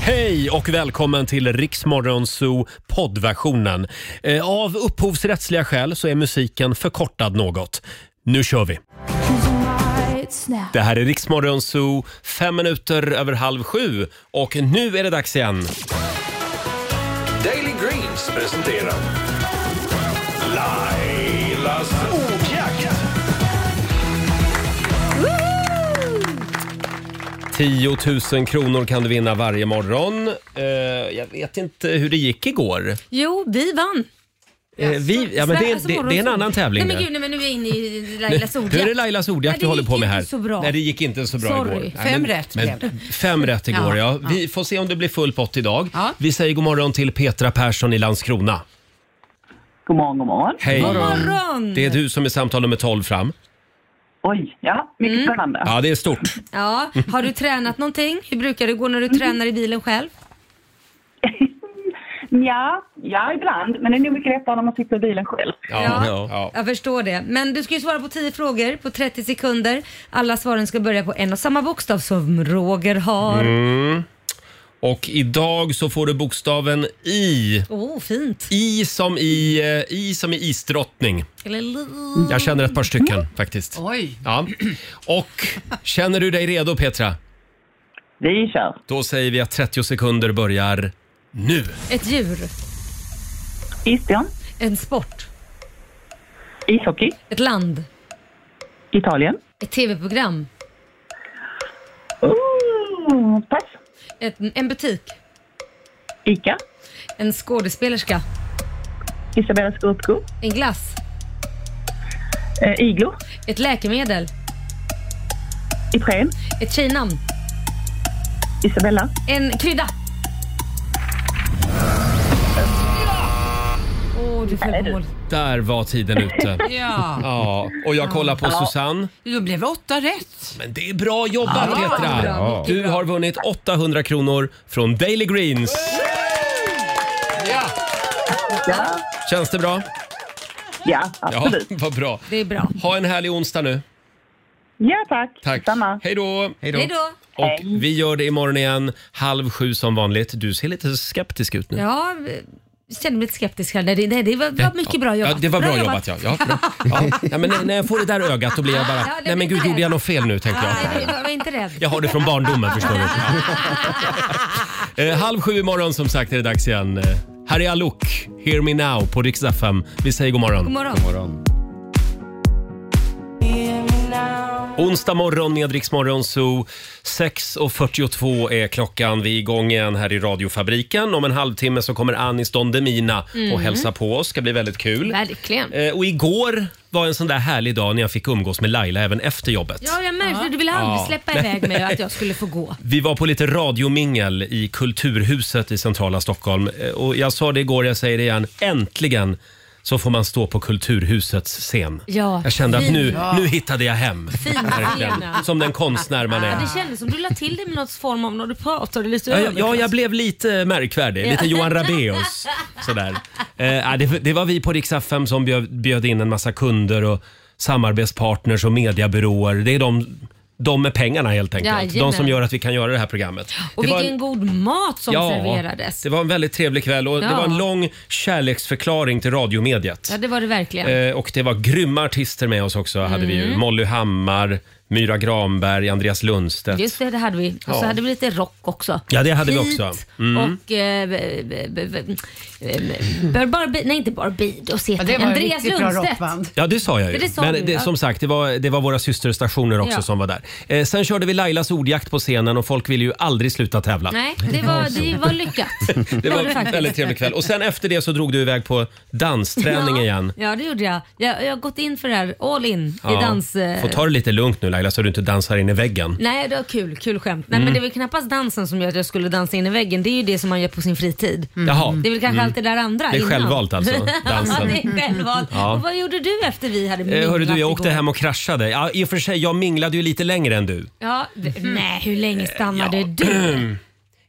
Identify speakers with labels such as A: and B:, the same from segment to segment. A: Hej och välkommen till Riksmorgon Zoo poddversionen. Eh, Av upphovsrättsliga skäl så är musiken förkortad något. Nu kör vi! Det här är Riksmorgon Zoo, fem minuter över halv sju och nu är det dags igen.
B: Daily Greens presenterar Lailas ordjakt.
A: 10 000 kronor kan du vinna varje morgon. Eh, Jag vet inte hur det gick igår.
C: Jo, vi vann.
A: Eh, Vi, ja, men det, det, det är en annan tävling
C: alltså Nej
A: nu.
C: men gud, nej, men nu är vi inne i Lailas
A: Nu är det
C: ordjakt.
A: Lailas
C: Nej,
A: ordjakt
C: det
A: vi håller
C: gick
A: på med
C: inte
A: här.
C: så bra.
A: Nej, det gick inte så bra
C: Sorry.
A: igår. Nej,
D: Fem rätt
A: men,
D: blev
A: Fem rätt igår, ja.
D: Ja,
A: Vi får se om det blir full pott idag.
D: Ja.
A: Vi säger god morgon till Petra Persson i Landskrona.
E: God morgon, god morgon.
A: Hej!
C: God morgon!
A: Det är du som är samtal nummer 12 fram.
E: Oj, ja, mycket spännande.
A: Mm. Ja, det är stort.
C: Ja, har du tränat någonting? Hur brukar det gå när du
A: Mm.
C: tränar i bilen själv?
E: Ja, ja, ibland. Men det är nog mycket lättare när man sitter i bilen själv.
A: ja. ja.
C: Jag förstår det. Men du ska ju svara på 10 frågor på 30 sekunder. Alla svaren ska börja på en och samma bokstav som Roger har.
A: Mm. Och idag så får du bokstaven I.
C: Åh, fint.
A: I som i, eh, I som i isdrottning.
C: Eller li-
A: Jag känner ett par stycken faktiskt.
D: Oj.
A: Ja. Och känner du dig redo Petra?
E: Vi kör.
A: Då säger vi att 30 sekunder börjar nu.
C: Ett djur.
E: Isbjörn,
C: En sport.
E: ishockey,
C: Ett land.
E: Italien.
C: Ett tv-program.
E: Ooh, pass.
C: Ett, en butik.
E: Ica,
C: En skådespelerska.
E: Isabella Scorupco,
C: En glass.
E: eh, Iglo,
C: Ett läkemedel.
E: Ipren,
C: Ett tjejnamn.
E: Isabella.
C: En krydda. Åh, du föll på mål.
A: Där var tiden ute.
D: Ja,
A: Ja, och jag kollar på Susanne.
D: då blev det åtta rätt.
A: Men det är bra jobbat Petra!
C: bra, mycket
A: Du har vunnit 800 kronor från Daily Greens. Ja.
E: Ja,
A: Känns det bra?
E: ja
A: Ja,
E: absolut. Ja,
A: vad bra.
C: Det är bra.
A: Ha en härlig onsdag nu.
E: tack.
A: Tack.
E: Samma.
A: Hej då!
C: Hej då.
A: Och vi gör det imorgon igen, halv sju som vanligt. Du ser lite skeptisk ut nu.
C: Ja, jag kände mig lite skeptisk här. Nej, det, nej, det var, var mycket bra jobbat.
A: Ja, det var bra, jobbat, ja. Ja, bra. ja. ja men när jag får det där ögat då blir jag bara,
C: Ja, det
A: nej men
C: blir
A: gud,
C: det.
A: gjorde jag något fel nu, tänker jag.
C: Nej, jag var inte rädd.
A: Jag har det från barndomen förstår du. eh, halv sju imorgon som sagt är det dags igen. Eh, Här är Alok, Hear Me Now på Rix FM. Vi säger god morgon.
C: God morgon.
A: Onsdag morgon med Rix Morgon Zoo. 6.42 är klockan. Vi är igång igen här i radiofabriken. Om en halvtimme så kommer Anis Don Demina
C: Mhm.
A: och hälsa på oss. ska bli väldigt kul.
C: Verkligen.
A: Eh, och igår var en sån där härlig dag när jag fick umgås med Laila även efter jobbet.
C: Ja, jag märkte Du ville aldrig släppa iväg mig och att jag skulle få gå.
A: Vi var på lite radiomingel i Kulturhuset i centrala Stockholm. Eh, Och jag sa det igår, jag säger det igen. Äntligen så får man stå på Kulturhusets scen.
C: Ja,
A: jag kände att
C: fin.
A: nu, nu hittade jag hem.
C: Fin
A: Verkligen.
C: scena.
A: Som den konstnär man
C: Ja,
A: är.
C: det kändes som du la till det med något form av när du pratade lite
A: Ja,
C: överklass.
A: ja, jag blev lite märkvärdig. Lite Johan Rabaeus. Sådär. Eh, ja, det, det var vi på Rix FM som bjöd, bjöd in en massa kunder och samarbetspartners och mediebyråer. Det är de, de med pengarna helt enkelt.
C: Jajamän.
A: De som gör att vi kan göra det här programmet.
C: Och
A: det var
C: vilken
A: en-
C: god mat som serverades.
A: det var en väldigt trevlig kväll och det
C: Ja.
A: var en lång kärleksförklaring till radiomediet.
C: Ja, det var det Mm. verkligen.
A: Eh, Och det var grymma artister med oss också. hade vi ju. Molly Hammar, Myra Granberg, Andreas Lundstedt.
C: Just det, det hade vi. Och så
A: Ja.
C: hade vi lite rock också.
A: Ja, det hade vi
C: Heat
A: också. Mm.
C: Och... Eh, b- b- b- b- eh, Bar- Barbi- nej, inte Barbados
D: Ja,
C: heter
D: det
C: ja,
D: var en
C: Andreas
D: riktigt bra
C: Lundstedt.
D: rockband.
A: Ja, det sa jag ju.
C: Det sa
A: Men
C: du,
A: det,
C: ja.
A: som sagt, det var, det var våra systerstationer också
C: Ja.
A: som var där. Eh, sen körde vi Lailas ordjakt på scenen och folk ville ju aldrig sluta tävla.
C: Nej, det var, det var lyckat.
A: Det var en
C: faktiskt.
A: väldigt trevlig kväll. Och sen efter det så drog du iväg på dansträning igen.
C: Ja, det gjorde jag. jag. Jag har gått in för det här, all in, i dans... eh, Mm.
A: Får ta det lite lugnt nu Laila så du inte dansar in i väggen.
C: Nej, det var kul. Kul skämt. Nej,
A: Mm.
C: men det var knappast dansen som gör att jag skulle dansa in i väggen. Det är ju det som man gör på sin fritid.
D: Mm.
A: Jaha.
C: Det är väl kanske allt det där andra
A: Mm. Det är
C: innan.
A: självvalt alltså, dansen.
C: ja, det är självvalt. Och vad gjorde du efter vi hade
A: Eh, hörru du, jag åkte
C: igår?
A: hem och kraschade. Ja, I och för sig, jag minglade ju lite längre än du. Eh,
C: Ja, d- nej, hur länge stannade du?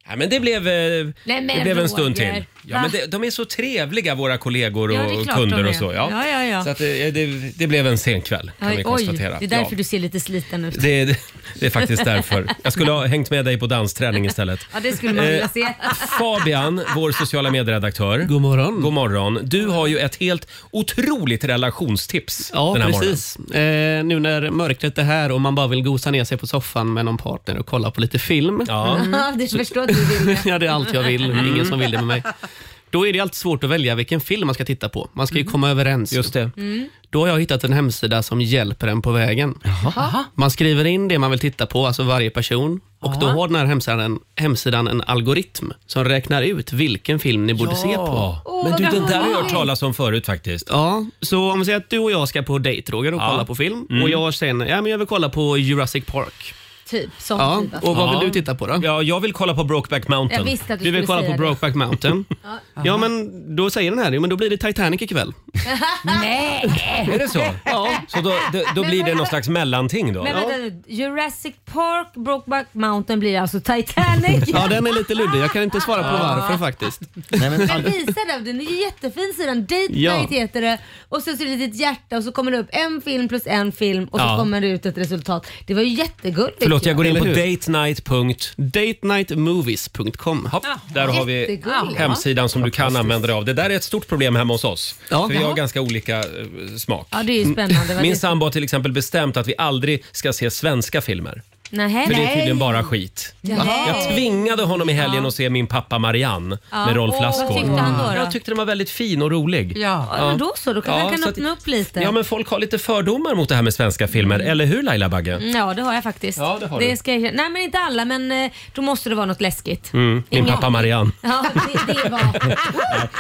A: Ja, men det blev, eh,
C: men
A: det blev en stund
C: Roger,
A: till. Ja,
C: va?
A: men det, de är så trevliga våra kollegor och
C: Ja, det är klart
A: kunder
C: de är.
A: och så. Ja.
C: Ja, ja, ja.
A: Så att, eh, det, det blev en sen kväll kan vi
C: Oj, oj, det
A: konstatera.
C: är därför
A: ja.
C: du ser lite sliten ut.
A: det, är- det är faktiskt därför. Jag skulle ha hängt med dig på dansträning istället.
C: Ja, det skulle man vilja
A: Eh,
C: se.
A: Fabian, vår sociala medieredaktör. God morgon. God morgon. Du har ju ett helt otroligt relationstips
F: Ja,
A: den här
F: precis. Eh, nu när mörkret är här och man bara vill gosa ner sig på soffan med någon partner och kolla på lite film.
A: Ja. Mm.
C: Mm, det förstår att du vill.
F: ja, det är allt jag vill. Det är Ingen som vill det med mig. Då är det alltid svårt att välja vilken film man ska titta på. Man
A: Mm.
F: ska ju komma överens. Just det. Då har jag hittat en hemsida som hjälper en på vägen. Man skriver in det man vill titta på, alltså varje person. Och Då har den här hemsidan, hemsidan en algoritm som räknar ut vilken film ni borde
A: morgonen.
F: se på.
A: Ja. Men du, den där har jag hört talas om förut faktiskt.
F: Ja, så om vi säger att du och jag ska på dejt Roger och
A: Ja.
F: kolla på film och jag sen, ja men jag vill kolla på Jurassic Park.
C: Typ, sånt
F: Ja,
C: typ. alltså.
F: och vad
A: Ja.
F: vill du titta på då?
A: Ja, jag vill kolla på Brokeback Mountain.
C: Jag visste att du,
F: Du vill
C: skulle
F: kolla på
C: säga
F: Brokeback Mountain. ja men då säger den här, jo men då blir det Titanic ikväll.
C: det. Nej!
A: Är det så? Ja. Så då, då, då blir det någon slags mellanting då?
C: Men vänta nu, Jurassic Park, Brokeback Mountain blir alltså Titanic.
F: Ja den är lite luddig, jag kan inte svara på varför faktiskt.
G: Nej, men,
C: Men visa den, den är ju jättefin sidan. Date
F: Ja.
C: night heter det. Och sen så är det ett litet hjärta och så kommer det upp en film plus en film och så
A: Ja.
C: kommer det ut ett resultat. Det var ju jättegulligt.
A: Förlåt,
C: ju.
A: jag går in på
F: Eller
A: datenight.com.
F: Datenightmovies.com.
A: Hopp, där har vi
C: Jättegulligt.
A: hemsidan som du kan använda dig av. Det där är ett stort problem hemma hos oss.
F: Ja.
A: För vi har
F: Jaha.
A: ganska olika eh, smak.
C: Ja det är ju spännande. vad
A: Min
C: det-
A: sambo har till exempel bestämt att vi aldrig ska se svenska filmer.
C: Nähä.
A: För det är tydligen
C: Nej.
A: bara skit.
C: Nej.
A: Jag tvingade honom i helgen att se Min pappa Marianne med Rolf
C: Åh,
A: Lassgård. Mm.
C: vad tyckte han då, då?
A: Jag tyckte den var väldigt fin och rolig.
D: Ja.
C: Ja, men då så, då kan
A: Ja,
C: jag
A: så
C: kan
A: att-
C: öppna upp lite. Mm.
A: Ja, men folk har lite fördomar mot det här med svenska filmer, eller hur Laila Bagge?
C: Ja, det har jag faktiskt.
A: Ja, det har du.
C: ska jag... Nej men inte alla men eh, då måste det vara något läskigt.
A: Min
C: Inga-
A: pappa Marianne.
C: Ja det, det var...
A: Mm.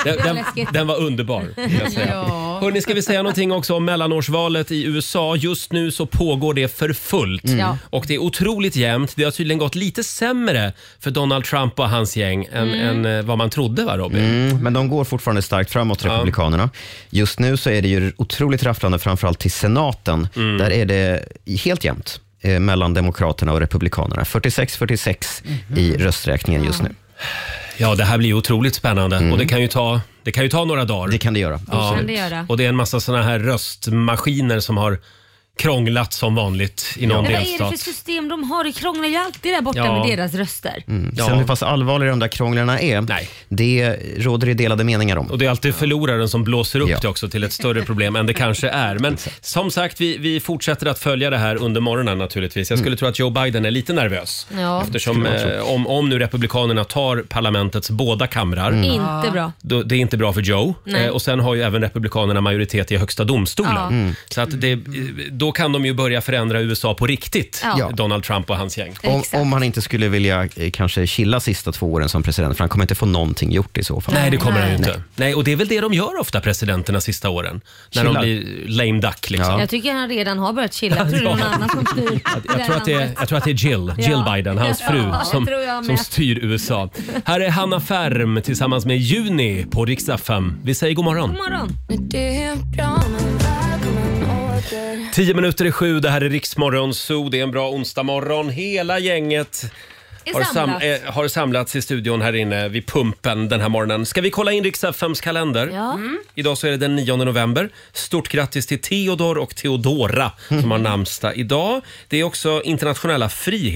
A: Den,
C: var
A: den,
C: läskigt.
A: den var underbar. vill Jag säga.
D: Ja.
A: Hörrni, ska vi säga någonting också om mellanårsvalet i USA? Just nu så pågår det för fullt
C: Mm. Ja.
A: och det är otroligt jämnt. Det har tydligen gått lite sämre för Donald Trump och hans gäng än,
C: Mm.
A: än eh, vad man trodde, va Robin?
G: mm, men de går fortfarande starkt framåt, Republikanerna. Just nu så är det ju otroligt rafflande, framförallt till senaten.
A: Mm.
G: Där är det helt jämnt eh, mellan Demokraterna och Republikanerna. 46-46 i rösträkningen just nu.
A: Mhm. Ja, det här blir ju otroligt spännande och det kan ju ta, det kan ju ta några dagar.
G: Mm. Det kan det göra.
A: ja.
C: kan det göra.
A: Och det är en massa såna här röstmaskiner som har krånglat som vanligt i någon
C: Men vad är det för
A: delstat.
C: system de har? Det krånglar ju alltid där borta
A: Ja. Mm.
C: med deras röster.
A: Ja.
G: Sen hur pass allvarliga de där krånglarna är,
A: Nej.
G: det råder det delade meningar om.
A: Och det är alltid förloraren som blåser upp
G: Ja.
A: det också till ett större problem än det kanske är. Men som sagt, vi, vi fortsätter att följa det här under morgonen naturligtvis. Jag skulle tro att Joe Biden är lite nervös.
C: Ja.
A: Eftersom eh, om, om nu Republikanerna tar parlamentets båda kamrar,
C: Inte bra.
A: då, det är inte bra för Joe.
C: Nej.
A: Eh, och sen har ju även Republikanerna majoritet i högsta domstolen.
C: Ja.
A: Så att det, eh, då kan de ju börja förändra USA på riktigt,
C: Ja.
A: Donald Trump och hans gäng.
G: Om,
C: Exakt.
G: om han inte skulle vilja eh, kanske chilla sista två åren som president, för han kommer inte få någonting gjort i så fall.
A: Nej, det kommer han ju
C: Nej.
A: inte. Nej, och det är väl det de gör ofta, presidenterna, sista åren. När
G: Chillar.
A: de blir lame duck liksom.
G: Ja.
C: Jag tycker han redan har börjat chilla. Jag tror det är någon annan som styr.
A: Jag tror, att det är, jag tror att det är Jill, Jill
C: Ja.
A: Biden, hans
C: Ja,
A: fru,
C: det
A: som,
C: tror jag med.
A: som styr USA. Här är Hanna Färm tillsammans med Juni på riksdag 5. Vi säger god morgon.
C: God morgon.
A: Tio minuter i sju, det här är Riksmorgon Zoo. Det är en bra onsdagmorgon. Hela gänget
C: Är
A: har, sam,
C: samlat.
A: eh, har samlats i studion här inne vid pumpen den här morgonen. Ska vi kolla in riksdag 5s kalender?
C: Ja. Mm.
A: Idag så är det den 9 november. Stort grattis till Theodor och Theodora som har namnsdag idag. Det är också internationella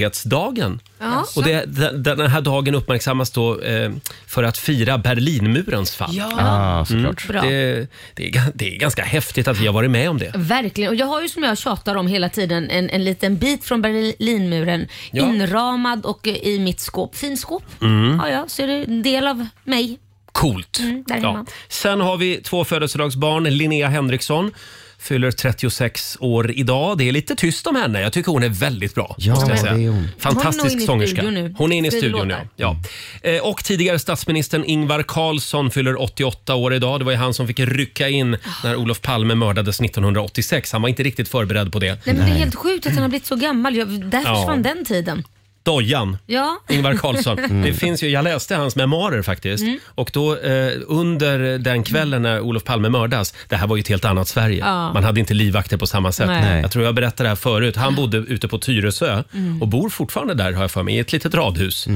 A: frihetsdagen.
C: Ja.
A: Och det, den- den här dagen uppmärksammas då eh, för att fira Berlinmurens fall.
G: Ah,
A: Mm.
G: såklart.
C: Bra.
A: Det, det, är, ga- det är ganska häftigt att vi har varit med om det.
C: Verkligen. Och jag har ju som jag tjatar om hela tiden en, en liten bit från Berlinmuren
A: Ja. Mm.
C: inramad och eh, i mitt skåp. Fin skåp. Ja, ja, så är det en del av mig.
A: Coolt.
C: där är man.
A: Sen har vi två födelsedagsbarn. Linnea Henriksson fyller 36 år idag. Det är lite tyst om henne. Jag tycker hon är väldigt bra.
G: Ja,
A: måste jag
G: det
A: säga.
G: är hon.
A: Fantastisk
C: Hon är nog inne i
A: sångerska.
C: studion nu.
A: Hon är inne i
C: Skriver
A: studion nu.
C: låtar.
A: Ja. Eh, Och tidigare statsministern Ingvar Carlsson fyller 88 år idag. Det var ju han som fick rycka in när Olof Palme mördades 1986. Han var inte riktigt förberedd på det.
C: Nej, men det är helt sjukt att han har blivit så gammal. Jag, där
A: Ja.
C: försvann den tiden.
A: Dojan.
C: Ja.
A: Ingvar Carlsson.
C: Mm.
A: Det finns ju, jag läste hans memoarer faktiskt. Och då eh, under den kvällen när Olof Palme mördas, det här var ju ett helt annat Sverige.
C: Ja.
A: Man hade inte livvakter på samma sätt.
C: Nej.
A: Jag tror jag berättade det här
C: Mm.
A: förut. Han bodde ute på Tyresö och bor fortfarande där har jag för mig, i ett litet radhus.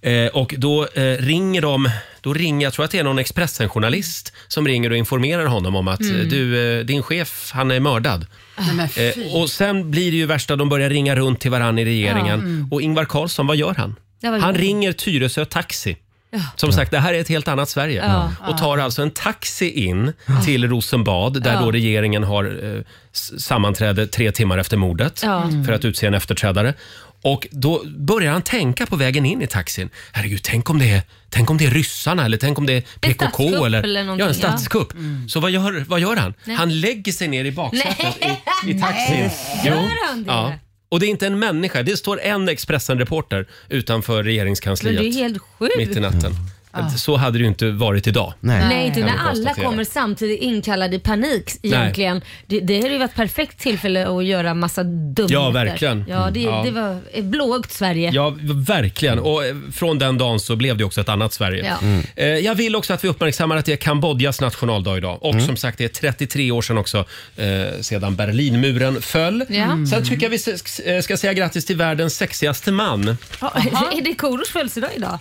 A: Eh, och då eh, ringer de, då ringer, jag tror att det är någon Expressen-journalist som ringer och informerar honom om att
F: Mm.
A: eh, du, eh, din chef, han är mördad.
D: Nej, men fy.
A: Eh, och sen blir det ju värsta, de börjar ringa runt till varann i regeringen.
C: Ja, mm.
A: Och Ingvar Carlsson, vad gör han?
C: Ja,
A: han
C: vad gör han?
A: ringer Tyresö Taxi.
C: Ja.
A: Som sagt, det här är ett helt annat Sverige.
C: Ja.
A: Och tar alltså en taxi in till Rosenbad där
C: Ja.
A: då regeringen har eh, s- sammanträde tre timmar efter mordet
C: Ja. Mm.
A: för att utse en efterträdare. Och då börjar han tänka på vägen in i taxin. Herregud, tänk om det är, tänk om det är ryssarna eller tänk om det är PKK
C: statskupp
A: eller,
C: eller någonting,
A: ja, en
C: ja.
A: statskupp. Så vad gör, vad gör han?
C: Mm. Nej.
A: Han lägger sig ner i baksätet
C: Nej.
A: i, i taxin.
C: Nej.
A: Jo.
C: Gör han det?
A: Ja. Och det är inte en människa. Det står en Expressen-reporter utanför
C: Men
A: regeringskansliet
C: det är ju helt sjukt.
A: mitt i natten.
C: Ja.
A: Så hade det ju inte varit idag.
C: Nej, inte
A: Kan
C: när
A: vi
C: alla
A: konstatera.
C: kommer samtidigt inkallade i panik egentligen. Det, det hade ju varit perfekt tillfälle att göra massa dumheter.
A: Ja, verkligen.
C: Ja, det,
A: Ja.
C: det var ett blåögt Sverige.
A: Ja, verkligen. Och eh, från den dagen så blev det också ett annat Sverige.
C: Ja. Mm.
A: Eh, Jag vill också att vi uppmärksammar att det är Kambodjas nationaldag idag. Och som sagt, det är 33 år sedan också eh, sedan Berlinmuren föll.
C: Ja. Mm.
A: Sen tycker jag vi eh, ska, ska säga grattis till världens sexigaste man.
C: Ja, är det Korosh födelsedag idag?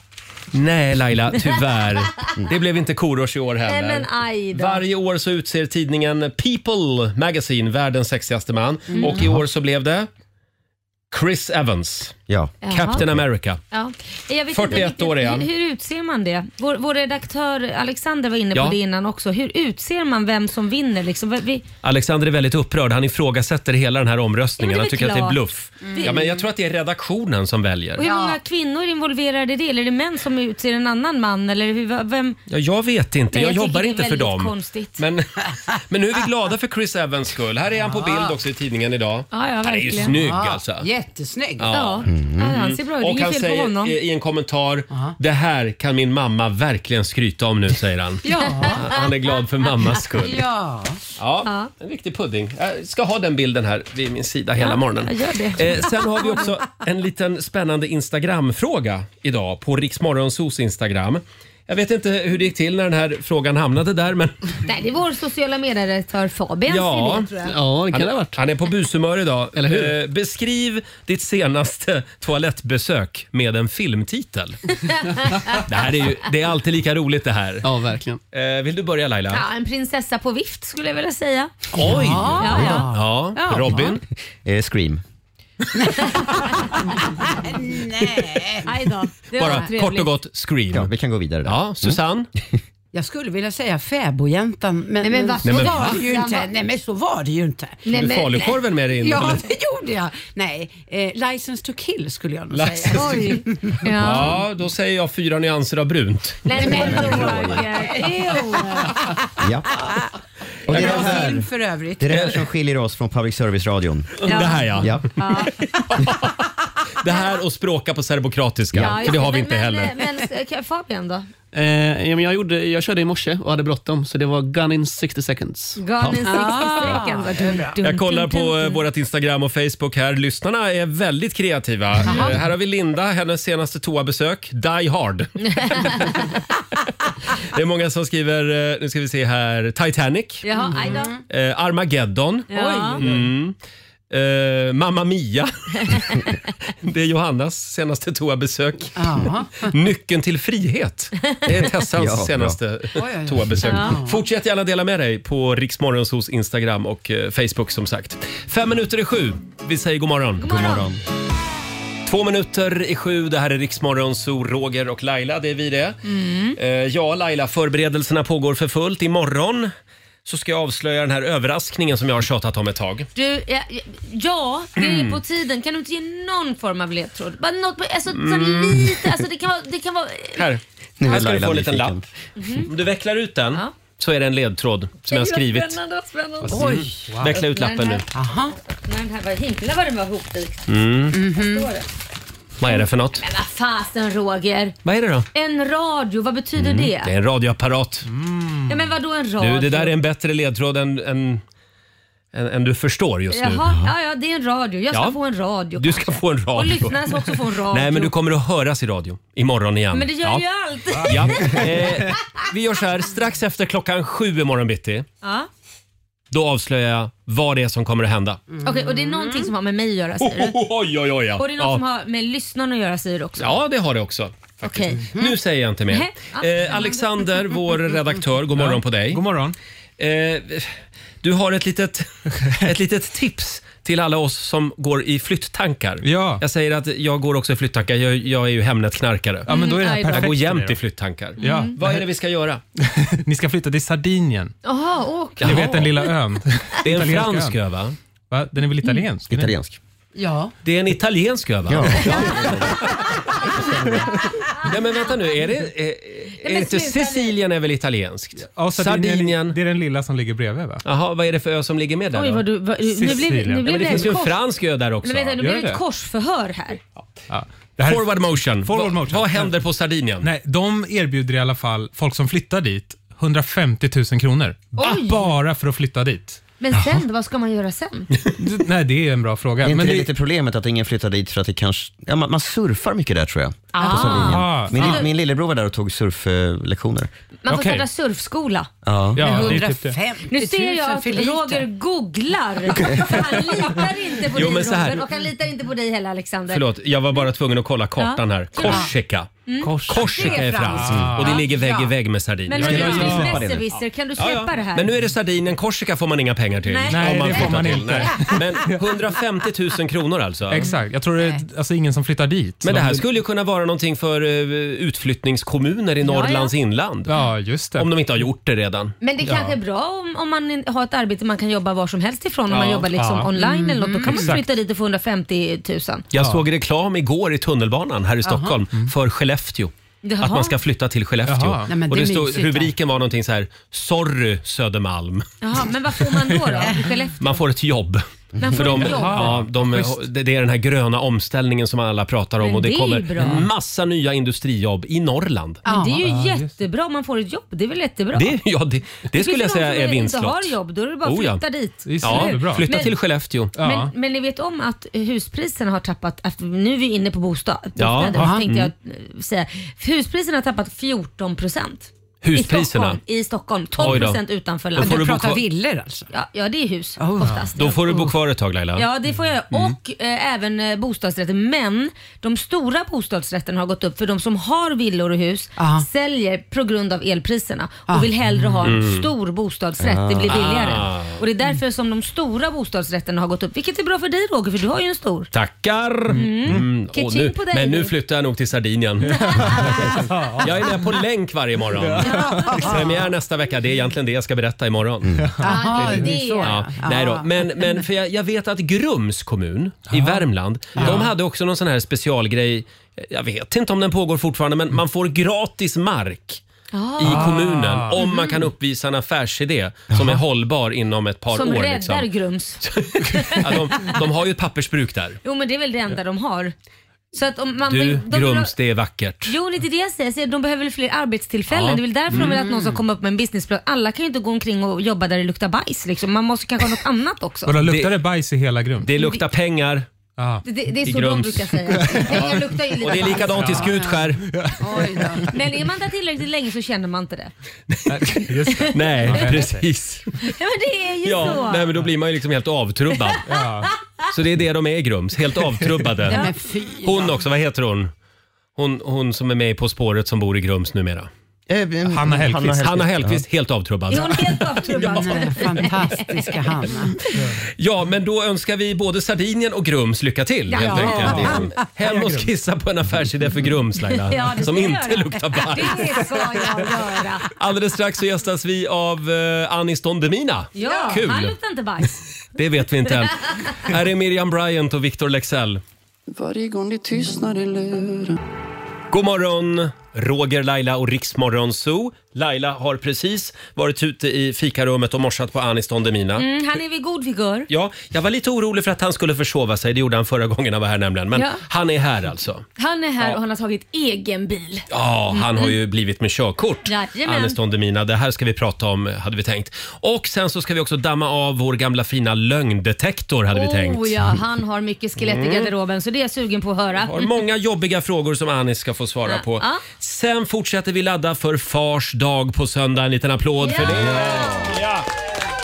A: Nej, Laila, tyvärr. Det blev inte Korosh i år
C: Nej,
A: heller.
C: men aj då.
A: Varje år så utser tidningen People Magazine världens sexigaste man.
C: Mm.
A: Och i år så blev det Chris Evans.
G: Ja.
A: Captain
C: Jaha.
A: America.
C: Ja. Jag vet
A: 41
C: inte riktigt,
A: år är han.
C: Hur, hur utser man det? Vår, vår redaktör Alexander var inne
A: Ja.
C: på det innan också. Hur utser man vem som vinner? Liksom? Vi- Vi,
A: Alexander är väldigt upprörd. Han ifrågasätter hela den här omröstningen.
C: Ja, men det är
A: Han tycker att det är
C: klart.
A: bluff.
C: Mm.
A: Ja, men jag tror att det är redaktionen som väljer.
C: och hur många kvinnor är involverade i det? Eller är det män som utser en annan man? Eller hur, vem?
A: Ja, jag vet inte.
C: Nej,
A: Jag,
C: jag tycker
A: jobbar
C: det är
A: inte för
C: väldigt
A: dem.
C: konstigt.
A: Men, men nu är vi glada för Chris Evans skull. Här är han på bild också i tidningen idag.
C: Ja, ja,
A: han är ju
C: verkligen.
A: snygg
D: Ja,
A: alltså.
D: Jättesnygg.
A: Ja. Mm.
C: Ja, han ser bra ut. Det är
A: Och han
C: inget fel på
A: säger eh,
C: honom.
A: i i en kommentar, det här kan min mamma verkligen skryta om nu, säger han.
D: Ja.
A: Han är glad för mammas skull.
D: ja.
A: Ja, en riktig pudding. Jag ska ha den bilden här vid min sida hela morgonen.
C: jag gör det.
A: Eh, sen har vi också en liten spännande Instagram-fråga idag på Riksmorgonsos Instagram. Jag vet inte hur det gick till när den här frågan hamnade där, men
C: Nej, det är vår sociala medieredaktör Fabians
A: ja,
C: idé tror jag.
A: han, han är på bushumör idag. Eller hur? Eh, beskriv ditt senaste toalettbesök med en filmtitel. det, här är ju, det är alltid lika roligt det här.
F: Ja, verkligen.
A: Eh, vill du börja Laila?
C: Ja, en prinsessa på vift skulle jag vilja säga.
A: Oj!
C: Ja, ja.
A: Ja,
C: Ja.
A: Robin?
G: Eh, Scream.
C: Aj då. Det var
A: Bara
C: trevligt.
A: kort och gott,
G: Ja,
A: scream.
G: vi kan gå vidare där.
A: Mm. Ja, Susanne?
D: Jag skulle vilja säga fäbodjäntan men,
C: Nej, men
D: men,
C: vad-
D: så
A: Nej, men-
D: var det ju inte. Nej men så var det ju inte.
C: Nej,
A: Har du
C: men-
A: falukorven med dig in?
D: Ja,
A: eller?
D: det gjorde jag. Nej, eh, License to kill skulle jag nog
A: License to
D: säga. Oj.
C: Ja.
A: Ja, då säger jag fyra nyanser av brunt.
C: Nej men Roger, ew.
G: Ja. Och det, är
D: Bra
G: det, här,
D: film för övrigt.
G: det är det här som skiljer oss från public service-radion.
A: Det här ja.
G: Ja.
A: Det här och språka på serbokroatiska.
C: Ja,
A: För det
C: ja,
A: har vi
C: men-
A: inte
C: men, eh,
A: heller.
C: Men, men Fabian då?
F: Eh, ja, men jag, gjorde, jag körde i morse och hade bråttom så det var Gun in 60 seconds.
C: Garden 60
D: Ah.
C: seconds. Dun, dun,
A: Jag kollar
C: dun,
A: på
C: dun,
A: eh,
C: dun.
A: vårt Instagram och Facebook här. Lyssnarna är väldigt kreativa. Eh, Här har vi Linda, hennes senaste toabesök. Die hard. det är många som skriver, eh, nu ska vi se här, Titanic,
C: Jaha, aj då.
A: eh, Armageddon.
C: Ja.
A: Mm. Eh, Mamma Mia. det är Johannas senaste toabesök.
D: Ja.
A: Nyckeln till frihet. Det är Tessans
G: Ja, bra.
A: senaste
D: oj, oj.
A: toabesök.
D: Ja.
A: Fortsätt gärna dela med dig på Riksmorgonsos Instagram och eh, Facebook som sagt. Fem minuter i sju. Vi säger god morgon.
C: God morgon. morgon.
A: Två minuter i sju. Det här är Riksmorgonso, Roger och Laila. Det är vi det.
C: Mm.
A: Eh, Ja, Laila, förberedelserna pågår för fullt. Imorgon så ska jag avslöja den här överraskningen som jag har tjatat om ett tag.
C: Du, ja, ja, det är
A: Mm.
C: på tiden. Kan du inte ge någon form av ledtråd? Bara något, alltså, så lite, alltså det kan vara... Det kan vara
A: Mm. Här,
G: Nu är
A: här ska du
G: Laila
A: få en liten
G: nyfiken.
A: lapp. Om du vecklar ut den
C: Mhm. Ja.
A: så är det en ledtråd som jag har skrivit.
C: Spännande, spännande.
D: Oj.
A: Veckla ut
C: Öppna den
A: lappen nu. Mm.
C: här.
D: Aha.
C: Men den här var himla vad den var hopdikt. Förstår du?
A: Vad är det för något?
C: Men vad fasen Roger.
A: Vad är det då?
C: En radio, vad betyder det?
A: Det är en radioapparat.
C: Ja, men vadå en Mm. radio?
A: Du, det där är en bättre ledtråd än, än, än, än du förstår just nu.
C: Jaha, ja, ja, det är en radio. Jag ska
A: Ja.
C: få en radio
A: Du ska
C: kanske.
A: få en radio.
C: Och lyssnarna ska också få en radio.
A: Nej, men du kommer att höras i radio imorgon igen.
C: Men det gör
A: ja.
C: ju allt.
A: Ja. Eh, vi gör så här, strax efter klockan sju imorgon bitti,
C: Ja.
A: då avslöjar jag vad det är som kommer att hända.
C: Okej, och det är någonting som har med mig att göra säger Mm. du?
A: Oj, oj, oj, ja.
C: Och det är något
A: Oh, ja.
C: som har med lyssnarna att göra säger du också?
A: ja, det har det också. faktiskt.
C: Okej.
A: Nu säger jag inte mer.
C: Nej. Ja.
A: Eh, Alexander, vår redaktör, god morgon på dig.
H: God morgon.
A: Eh, du har ett litet, ett litet tips till alla oss som går i flytttankar.
H: Ja.
A: Jag säger att jag går också i flytttankar. Jag, jag är ju Hemnet-knarkare.
H: Ja, men då är det
C: Mm,
H: här
C: aj då.
H: perfekt.
A: jag går jämt
H: för
A: i
H: er då.
A: flytttankar.
H: Ja.
A: Vad är det vi ska göra?
H: Ni ska flytta till Sardinien.
C: Jaha, åk.
H: Ni vet den lilla ön.
A: Det är en
H: Italiensk
A: fransk
H: ön.
A: ö, va?
H: Va? Den är väl italiensk?
A: Mm.
H: eller?
G: Italiensk.
D: Ja.
A: Det är en italiensk ö, va?
G: Ja.
A: Nej, men vänta nu. Är det, är, är
C: men
A: inte
C: sluta nu.
A: Sicilien är väl italienskt?
H: Ja, Sardinien.
A: Sardinien.
H: Det är den lilla som ligger bredvid va?
A: Jaha, vad är det för ö som ligger med där
C: Oj,
A: då?
C: vad du, vad, nu blev,
H: Sicilien.
C: nu
H: Ja,
A: Ja,
C: blev
A: men
C: det
A: det finns ju
C: ett
A: en
C: kors.
A: fransk ö där också.
C: Men vänta, nu
H: Gör
C: blev det ett
H: det?
C: korsförhör här.
H: Ja. Det här,
A: Forward motion.
H: Forward
A: Va-
H: motion.
A: Vad händer på Sardinien?
H: nej, de erbjuder i alla fall folk som flyttar dit 150 000 kronor. Ah,
C: Oj.
H: Bara för att flytta dit.
C: Men sen, vad ska man göra sen?
H: D- Nej, det är en bra fråga.
G: Är inte
H: Men
G: det
H: det-
G: lite problemet att ingen flyttar dit för att det kanske... Ja, man, man surfar mycket där tror jag. På
C: Ah.
H: Ah,
G: Sardinien. Min,
C: ah.
G: lill- min lillebror var där och tog surflektioner.
C: Man får
A: Okej.
C: starta surfskola.
G: Ja.
H: ja, det är typ det.
D: 150
C: Nu ser jag
D: 000
C: att
D: för lite.
C: Roger googlar. För han litar inte på
A: Jo,
C: dig
A: men så här-
C: Roger och han litar inte på dig heller Alexander.
A: Förlåt, jag var bara tvungen att kolla kartan
C: Ja. Mm.
A: här. Korsika. Korsika
D: Det
A: är
D: är
A: franskt
H: franskt.
A: och det ligger vägg i
D: Ja.
A: vägg med Sardinien.
C: Men nu
A: Ja,
C: är
A: ja,
C: du
A: ja.
G: släppa det
C: ja,
G: nu.
C: besserwisser, kan du
A: Ja,
C: släppa
A: ja.
C: det här?
A: Men nu är det Sardinien. Korsika får man inga pengar till.
C: Nej.
H: Nej,
A: Om man
H: det får
A: flyttar
H: man
A: till.
H: inte.
A: Nej. Men 150 000 kronor alltså.
H: Exakt. Jag tror det är alltså, ingen som flyttar dit.
A: Men det här
H: De-
A: skulle ju kunna vara någonting för eh, utflyttningskommuner i Norrlands inland.
H: Ja, just det.
A: Om de inte har gjort det redan.
C: Men det kanske är bra om, om man in- har ett arbete man kan jobba var som helst ifrån. Om man jobbar liksom
H: Ja.
C: online eller något. Då kan man flytta dit och få 150 000.
A: Jag såg reklam igår i tunnelbanan här i Stockholm för Skellefteå.
C: Mm. Jaha.
A: Att man ska flytta till Skellefteå.
H: Jaha.
D: Nej, men
A: och
D: det
A: det
D: är
A: stod,
D: mysigt, va?
A: rubriken var någonting så här “Sorry Södermalm,
C: Jaha, men vad får man då? då? I Skellefteå?
A: man får ett jobb”.
C: Man får
A: de,
C: ett jobb.
A: ja, de,
H: Schysst.
A: det är den här gröna omställningen som alla pratar om
C: Men
A: och det,
C: det är ju
A: kommer
C: bra.
A: en massa nya industrijobb i Norrland.
C: Men det är ju jättebra om man får ett jobb. Det är väl jättebra?
A: Det, ja, det, det skulle jag
C: finns
A: säga
C: de som
A: är vinstlott.
C: inte har jobb, då är det bara att
A: Oh, ja.
C: flytta dit.
H: Det är
A: Ja,
H: superbra.
A: flytta
C: Men-
A: till Skellefteå.
H: Ja.
C: Men, men ni vet om att huspriserna har tappat, att nu är vi inne på bostad, bostäder,
A: aha.
C: så tänkte jag eh, säga. Huspriserna har tappat 14 procent.
A: Huspriserna.
C: I Stockholm,
A: Oj
C: i Stockholm 12
A: då.
C: procent utanför
A: Då får
C: landet.
A: du
D: Du
A: bo kvar-
D: pratar villor alltså?
C: Ja, ja, det är hus oftast.
A: Då får du bo kvar ett tag Laila.
C: Mm. Ja, det får jag
A: Mm.
C: Och eh, även eh, bostadsrätter. Men de stora bostadsrätterna har gått upp för de som har villor och hus
A: Ah.
D: Aha.
C: säljer på grund av elpriserna och vill hellre ha en
A: Mm.
C: stor bostadsrätt. Det
A: Ah.
C: blir billigare. Och det är därför som de stora bostadsrätterna har gått upp. Vilket är bra för dig Roger, för du har ju en stor.
A: Tackar! Mm.
C: Kitsching
A: Och nu,
C: på dig.
A: men nu flyttar jag nog till Sardinien. jag är med på länk varje morgon. Premiär nästa vecka. Det är egentligen det jag ska berätta imorgon.
D: Jaha,
C: det är
D: det
C: det.
D: är så.
A: Ja,
D: Ja.
A: nej då. Men, men för jag, jag vet att Grums kommun i Värmland, de hade också någon sån här specialgrej. Jag vet inte om den pågår fortfarande, men man får gratis mark
C: Ah.
A: i kommunen om man kan uppvisa en affärsidé som är hållbar inom ett par
C: Mhm. Som
A: år.
C: räddar
A: Liksom.
C: Grums.
A: Ja, de, de har ju ett pappersbruk där.
C: Jo men det är väl det enda de har. Så att om man
A: Du,
C: vill- de vill ha-
A: Grums, det är vackert.
C: Jo, lite det jag säger. Jag säger, De behöver väl fler arbetstillfällen.
A: Ja. Mm.
C: Det är väl därför de vill att någon ska komma upp med en businessplan. Alla kan ju inte gå omkring och jobba där det luktar bajs. Liksom. Man måste kanske ha något annat också.
H: Vadå, luktar det bajs i hela Grums?
A: Det luktar pengar
H: Ah.
C: Det, det är
A: I
C: så de
A: Grums.
C: brukar säga. Pengar luktar ju
A: och det är
C: lite bajs.
A: likadant i Skutskär.
D: Oj då.
C: Men är man där tillräckligt länge så känner man inte det.
H: Just det.
A: Nej, precis.
C: Ja, men det är ju
A: Ja,
C: så.
A: nej, men då blir man ju liksom helt avtrubbad.
H: Ja.
A: Så det är det de är i Grums, helt
D: Nej,
A: avtrubbade.
D: men fy.
A: Hon också, vad heter hon? Hon, hon som är med i På spåret som bor i Grums numera.
G: Eh,
H: Hanna Hellquist.
A: Mm. Hanna Hellquist, helt avtrubbad.
C: Är hon helt avtrubbad?
D: Den fantastiska Hanna.
A: Ja, men då önskar vi både Sardinien och Grums lycka till.
C: Ja.
A: Helt enkelt.
H: Ja.
A: Hem och skissa på en affärsidé för Grums, Laila,
C: Ja, det ska
A: som
C: jag
A: inte
C: göra.
A: luktar bajs.
C: Det ska jag göra.
A: Alldeles strax så gästas vi av eh, Anis Don Demina.
C: Ja,
A: Kul!
C: han luktar inte bajs.
A: Det vet vi inte än. Här är Miriam Bryant och Victor Lexell.
I: Varje gång det tystnar i luren
A: God morgon, Roger, Laila och Riksmorgon Zoo. Laila har precis varit ute i fikarummet och morsat på Anis Don Demina.
C: Mm, han är vid god vigör.
A: Ja, jag var lite orolig för att han skulle försova sig. Det gjorde han förra gången han var här nämligen. Men
C: Ja.
A: han är här alltså.
C: Han är här och han har tagit egen bil.
A: Ja, han har ju blivit med körkort.
C: Jajamän.
A: Anis Don Demina. Det här ska vi prata om, hade vi tänkt. Och sen så ska vi också damma av vår gamla fina lögndetektor, hade vi tänkt. Mm.
C: Oh ja, han har mycket skelett i garderoben så det är jag sugen på att höra.
A: har många jobbiga frågor som Anis ska få svara på.
C: Ja.
A: Sen fortsätter vi ladda för Fars dag på söndag. En liten applåd för det. Ja.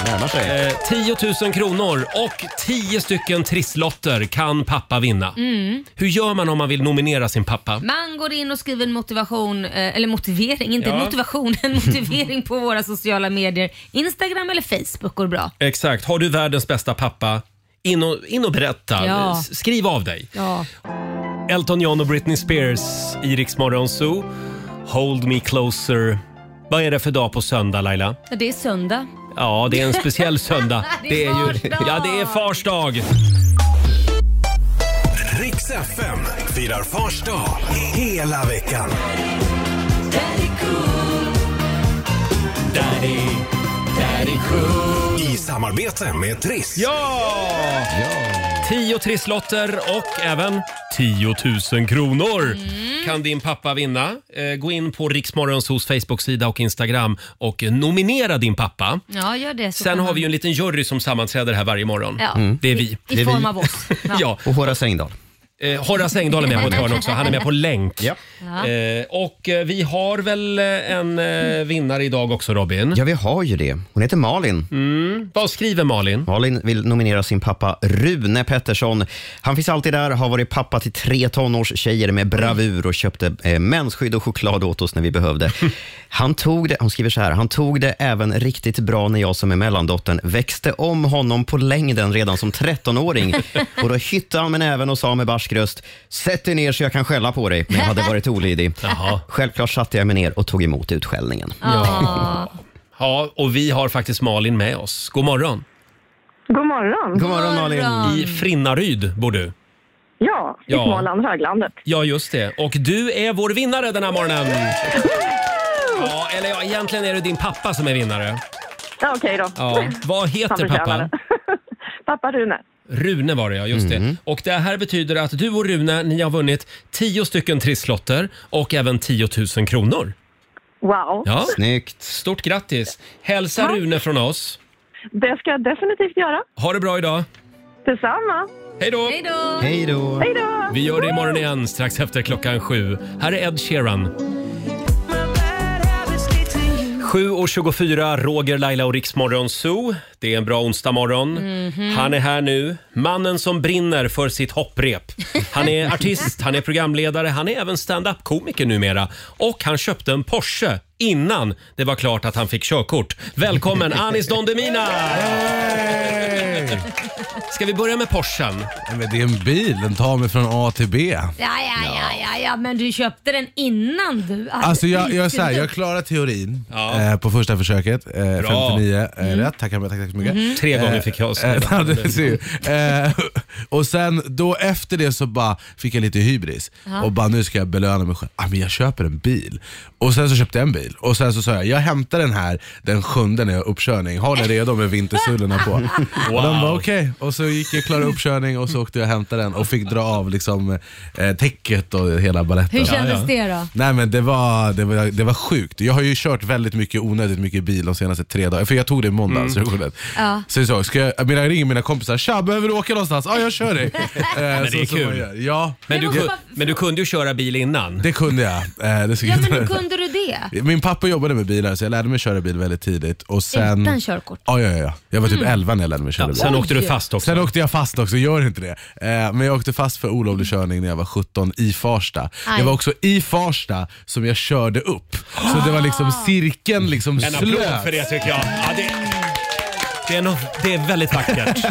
G: Närmar sig.
A: Eh, 10 000 kronor och 10 stycken trisslotter kan pappa vinna.
C: Mm.
A: Hur gör man om man vill nominera sin pappa?
C: Man går in och skriver en motivation, eh, eller motivering, inte
A: Ja.
C: motivation, en motivering på våra sociala medier. Instagram eller Facebook går bra.
A: Exakt. Har du världens bästa pappa? In och, in och berätta.
C: Ja.
A: S- Skriv av dig.
C: Ja.
A: Elton John och Britney Spears i Rix Morgon Zoo. Hold me closer. Vad är det för dag på söndag Laila?
C: Det är söndag.
A: Ja, det är en speciell söndag.
C: Det är
A: ju,
C: fars dag.
A: Ja, det är fars dag.
B: Riks FM firar Fars dag hela veckan. I samarbete med Triss.
A: Ja! Tio trisslotter och även 10 000 kronor kan din pappa vinna. Eh, Gå in på Riksmorgonsos Facebook-sida och Instagram och nominera din pappa.
C: Ja, gör det. så
A: Sen
C: kan
A: har vi ju
C: man-
A: en liten jury som sammanträder här varje morgon.
C: Ja. Mm.
A: Det är vi.
C: I form av oss. Ja.
A: Ja.
G: Och Horace Engdahl.
A: Eh, Horace Engdahl är med på ett hörn också. Han är med på länk.
G: Ja.
C: Ja.
A: Eh, och eh, vi har väl eh, en eh, vinnare idag också Robin.
G: Ja, vi har ju det. Hon heter Malin.
A: Vad skriver Malin?
G: Malin vill nominera sin pappa Rune Pettersson. Han finns alltid där, har varit pappa till tre tonårstjejer med bravur och köpte eh, mensskydd och choklad åt oss när vi behövde. Han tog det, hon skriver så här, han tog det även riktigt bra när jag som är mellandottern växte om honom på längden redan som 13-åring. Och då hyttade han med näven och sa med barsk röst, sätt dig ner så jag kan skälla på dig, men jag hade varit olydig.
A: Jaha.
G: Självklart satte jag mig ner och tog emot utskällningen.
C: Ja.
A: Ja, och vi har faktiskt Malin med oss. God morgon.
E: God morgon.
G: God morgon Malin!
A: I Frinnaryd bor du.
E: Ja, i
A: Ja.
E: Småland, höglandet.
A: Ja, just det. Och du är vår vinnare den här morgonen. Ja, eller ja, egentligen är det din pappa som är vinnare.
E: Ja, Okej då.
A: Ja. Vad
E: Han
A: heter
E: förtjänar
A: pappa?
E: det. pappa Rune.
A: Rune var det ja, just det. Och det här betyder att du och Rune, ni har vunnit 10 stycken trisslotter och även 10 000 kronor.
E: Wow.
A: Ja,
G: Snyggt!
A: stort grattis! Hälsa Rune från oss.
E: Det ska jag definitivt göra.
A: Ha det bra idag.
E: Detsamma.
A: Hej då!
C: Hej då.
G: Hej då!
E: Hej då!
A: Vi gör det imorgon igen strax efter klockan sju. Här är Ed Sheeran. 7.24, Roger, Laila och Riksmorgon Zoo. Det är en bra onsdagmorgon.
J: Mhm.
A: Han är här nu. Mannen som brinner för sitt hopprep. Han är artist, han är programledare, han är även stand-up-komiker numera. Och han köpte en Porsche innan det var klart att han fick körkort. Välkommen Anis Don Demina! Ska vi börja med Porschen?
J: Men det är en bil, den tar mig från A till B.
C: Ja, ja, ja, ja, ja, men du köpte den innan du...
J: Alltså jag, jag, är så här, jag klarar teorin
A: Ja.
J: eh, på första försöket, eh, 59 eh, rätt. Tackar, tack, tack så mycket.
A: Tre gånger fick jag oss.
J: Eh, ja, det ser ju. Eh, och sen då efter det så bara fick jag lite hybris och bara nu ska jag belöna mig själv. Ah, men jag köper en bil. Och sen så köpte jag en bil och sen så sa jag jag hämtar den här den sjunde när jag har uppkörning. Har den redo med vintersulorna på. Och de var okej. Och så gick jag klara uppkörning och så åkte jag och hämtade den och fick dra av liksom, eh, täcket och hela baletten.
C: Hur kändes det då?
J: Nej men det var, det, var, det var sjukt. Jag har ju kört väldigt mycket onödigt mycket bil de senaste tre dagarna. För jag tog det i måndags. Mm.
C: Ja.
J: Så jag sa, ska jag, jag, menar, jag ringer mina kompisar, tja behöver du åka någonstans? Ja jag kör dig. men
A: det är kul.
J: Ja,
A: Men du,
C: Men
A: kun-
C: vad-
A: men du kunde ju köra bil innan.
J: det kunde jag. Eh, det ska
C: Ja,
J: jag
C: men hur
J: inte-
C: kunde du det?
J: Min pappa jobbade med bilar så jag lärde mig köra bil väldigt tidigt. Och sen,
C: Utan körkort? Mm.
J: Ja, ja, ja. Jag var typ 11 när jag lärde mig köra
A: Ja,
J: bil.
A: sen
C: Oj.
A: åkte du fast också.
J: Sen åkte jag fast också, gör inte det. Eh, men jag åkte fast för olovlig körning när jag var 17 i Farsta.
C: Aj.
J: Det var också i Farsta som jag körde upp. Så det var liksom cirkeln liksom
A: En applåd
J: slöt.
A: för det tycker jag. Ja, det, det, är nog, det är väldigt vackert.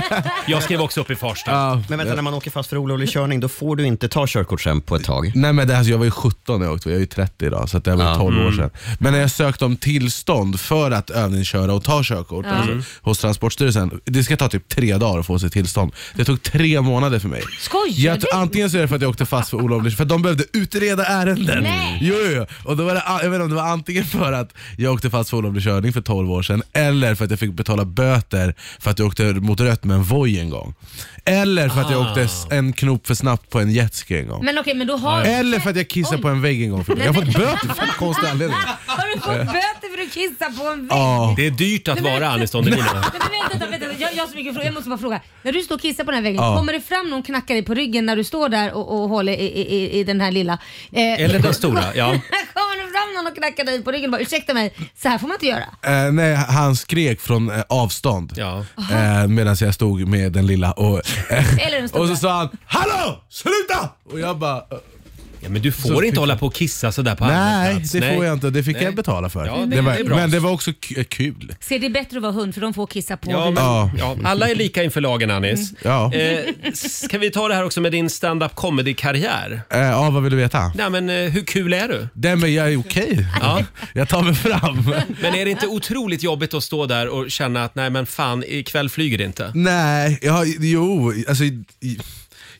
A: Jag skrev också upp i Farsta.
J: Ja.
G: Men vänta, när man åker fast för olovlig körning, då får du inte ta körkort sen på ett tag.
J: Nej men det här, jag var ju 17 när jag åkte, jag är ju 30 idag så att det var
G: Ja.
J: 12 år sedan. Men när jag sökte om tillstånd för att övningsköra och ta körkort alltså, hos Transportstyrelsen, det ska ta typ tre dagar att få sitt tillstånd. Det tog tre månader för mig.
C: Skojar
J: Jag tror,
C: du?
J: antingen så är det för att jag åkte fast för olovlig för att de behövde utreda ärenden.
C: Nej.
J: Jo, jo, jo. Och då var det, jag vet inte om det var antingen för att jag åkte fast för olovlig körning för 12 år sedan eller för att jag fick betala böter för att jag åkte mot rött med en Voi en gång. Eller för att
C: Ah.
J: jag åkte s- en knop för snabbt på en jetski en gång.
C: Men okej, men då har
J: Eller för att jag kissade
C: Oj.
J: på en vägg en gång. För mig. jag har fått böter för en konstig anledning.
C: Har du fått böter för att kissa på en vägg?
J: Ja.
A: Det är dyrt att vara Anis Don Demina.
C: Nej, men vänta, vänta, vänta. Jag, jag, har så mycket frågor. jag måste bara fråga. När du står och kissar på den här väggen,
J: Ja.
C: kommer det fram någon och knackar dig på ryggen när du står där och, och håller i, i, i- i den här lilla? Eh,
A: Eller den stora, ja.
C: kommer det fram någon och och knackade dig på ryggen och bara ursäkta mig, så här får man inte göra.
J: Eh, nej, han skrek från eh, avstånd eh, medan jag stod med den lilla. Och, eh,
C: Eller den stora.
J: och så sa han “Hallå! Sluta!” Och jag bara... eh,
A: Ah, Ja, men du
J: Så
A: får
J: fick-
A: inte hålla på och kissa sådär på allmän
J: Nej,
A: plats.
J: det får jag inte. Det fick
A: Nej.
J: jag betala för.
C: Mm.
A: Ja, det-
J: det var,
A: det är bra.
J: men det var också k- kul.
C: Ser det bättre att vara hund för de får kissa på
A: Ja,
C: dig.
A: men,
J: Ja. Mm.
A: ja, alla är lika inför lagen, Anis.
J: Ja.
A: Eh, ska vi ta det här också med din stand-up comedy-karriär?
J: Eh, ja, vad vill du veta?
A: Nej, men eh, hur kul är du?
J: Nej men jag är okej.
A: Ja.
J: Jag tar mig fram.
A: Men är det inte otroligt jobbigt att stå där och känna att nej men fan, ikväll flyger det inte?
J: Nej, jag, jo, alltså, i- i-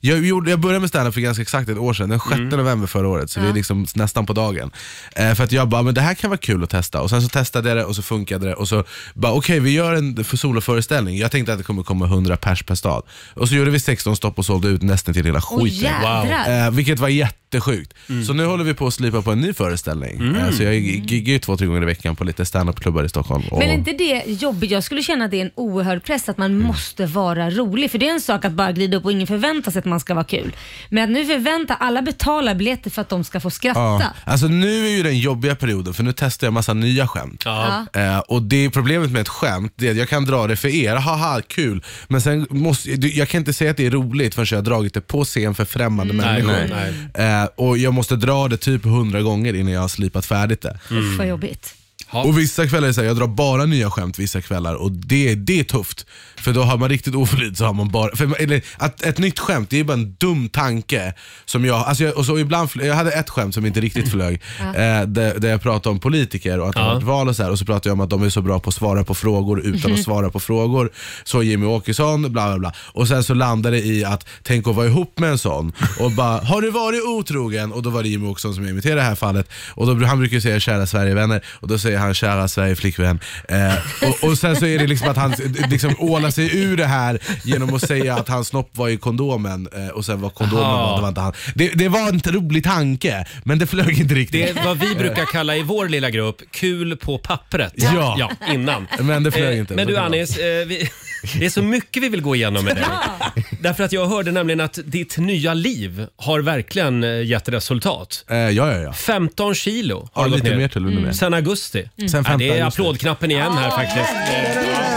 J: jag, gjorde, jag började med standup för ganska exakt ett år sedan, den 6
C: Mm.
J: november förra året, så vi är liksom nästan på dagen. Eh, för att jag bara, men det här kan vara kul att testa. Och Sen så testade jag det och så funkade det. Och så bara, okej vi gör en för- soloföreställning. Jag tänkte att det kommer komma 100 pers per stad. Och så gjorde vi 16 stopp och sålde ut nästan till hela
C: Åh
J: skiten.
C: jädrar. Mm.
J: Eh, vilket var jättesjukt. Så nu håller vi på att slipa på en ny föreställning. Eh, så jag giggar ju två, tre gånger i veckan på lite standup-klubbar i Stockholm. Och-
C: Men är inte det jobbigt? Jag skulle känna att det är en oerhörd press att man måste vara rolig. För det är en sak att bara glida upp och ingen förväntar sig att man ska vara kul. Men att nu förväntar alla betalar biljetter för att de ska få
J: Ja.
C: skratta.
J: Alltså nu är ju den jobbiga perioden för nu testar jag massa nya skämt. Eh, och det är problemet med ett skämt det är att jag kan dra det för er, haha kul. Men sen måste, du- jag kan inte säga att det är roligt förrän jag har dragit det på scen för främmande människor.
A: Mm. nej,
J: Eh, och jag måste dra det typ hundra gånger innan jag har slipat färdigt det.
C: Uff, vad jobbigt.
A: Ja.
J: Och vissa kvällar är det så här, jag drar bara nya skämt vissa kvällar och det, det är tufft. För då har man riktigt oflyt. Så har man bara, för, eller, att, ett nytt skämt det är bara en dum tanke. Som jag, alltså jag, och så ibland, fl- jag hade ett skämt som inte riktigt flög, eh, där, där jag pratade om politiker och att det har varit val och så här, och så pratade jag om att de är så bra på att svara på frågor utan att svara på frågor. Så Jimmy Åkesson, bla bla bla. Och sen så landade det i att tänk att vara ihop med en sån. Och bara, har du varit otrogen? Och då var det Jimmy Åkesson som jag imiterade i det här fallet. Och då, han brukar ju säga kära Sverigevänner och då säger han kära Sverige flickvän. Eh, och, och sen så är det liksom att han eh, liksom ålar sig ur det här genom att säga att hans snopp var i kondomen eh, och sen var kondomen
A: Aha.
J: var, det var inte han. Det, det var en rolig tanke men det flög inte riktigt.
A: Det är vad vi brukar kalla i vår lilla grupp, kul på pappret.
J: Ja.
A: innan.
J: Men det flög
A: Eh,
J: inte.
A: Men du
J: det var-
A: Anis, eh, vi, det är så mycket vi vill gå igenom med dig. Därför att jag hörde nämligen att ditt nya liv har verkligen eh, gett resultat.
J: Eh, ja, ja, ja.
A: 15 kilo har
J: Har
A: du gått
J: lite
A: ner.
J: mer till och med.
A: Sen augusti.
J: Sen
A: Ja, det
J: 15
A: är
J: augusti.
A: applådknappen igen här faktiskt. Eh,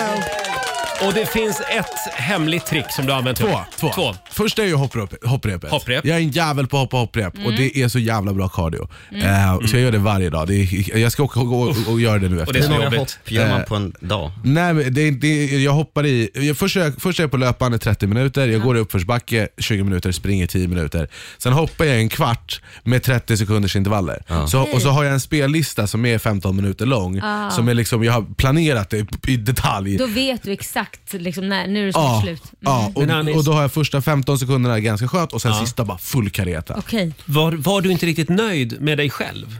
A: Och det finns ett hemligt trick som du har använt.
J: Två, två.
A: två.
J: Första är ju hopprep, hopprepet.
A: Hopprep.
J: Jag är en jävel på att hoppa hopprep och det är så jävla bra cardio. Eh, så jag gör det varje dag. Det är, jag ska åka och, och, och göra det nu efter.
A: Mm. det är så
G: Hur många
A: jobbigt.
G: hopp gör man på en dag?
J: Nej, men Eh. det, det, jag hoppar i, jag, först, är jag, först är jag på löpande 30 minuter, jag går i uppförsbacke 20 minuter, springer 10 minuter. Sen hoppar jag en kvart med 30 sekunders intervaller. Så, och så har jag en spellista som är 15 minuter lång, som är liksom, jag har planerat det i, i detalj.
C: Då vet du exakt liksom, när, nu är det
J: Ja,
C: snart slut. Mm.
J: ja
A: Men
J: och,
A: Anis-
J: och då har jag första 15 sekunderna ganska skönt och sen sista bara full kareta.
C: Okej.
A: Var, var du inte riktigt nöjd med dig själv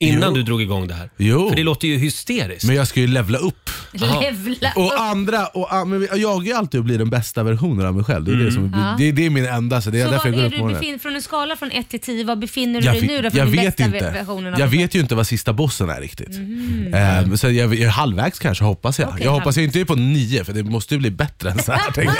A: innan
J: Jo.
A: du drog igång det här?
J: Jo.
A: För det låter ju hysteriskt.
J: Men jag ska ju levla upp.
C: Levla upp.
J: Och andra, och, an- men jag är ju alltid att bli den bästa versionen av mig själv. Det är,
A: Mm.
J: det som,
C: Ja.
J: det, det är min enda, så det är
C: Så
J: därför jag
C: var
J: går
C: är
J: upp på
C: du
J: morgonen.
C: befin- från en skala från 1 till 10, vad befinner du
J: Jag,
C: dig
J: vet-
C: nu då för
J: jag
C: den
J: vet
C: bästa
J: inte.
C: versionen av
J: Jag
C: dig själv? Mm.
J: vet ju inte vad sista bossen är riktigt. Ehm, så jag, jag är halvvägs kanske hoppas jag.
C: Okej,
J: jag hoppas jag inte är på nio för det måste ju bli bättre än så här. tänker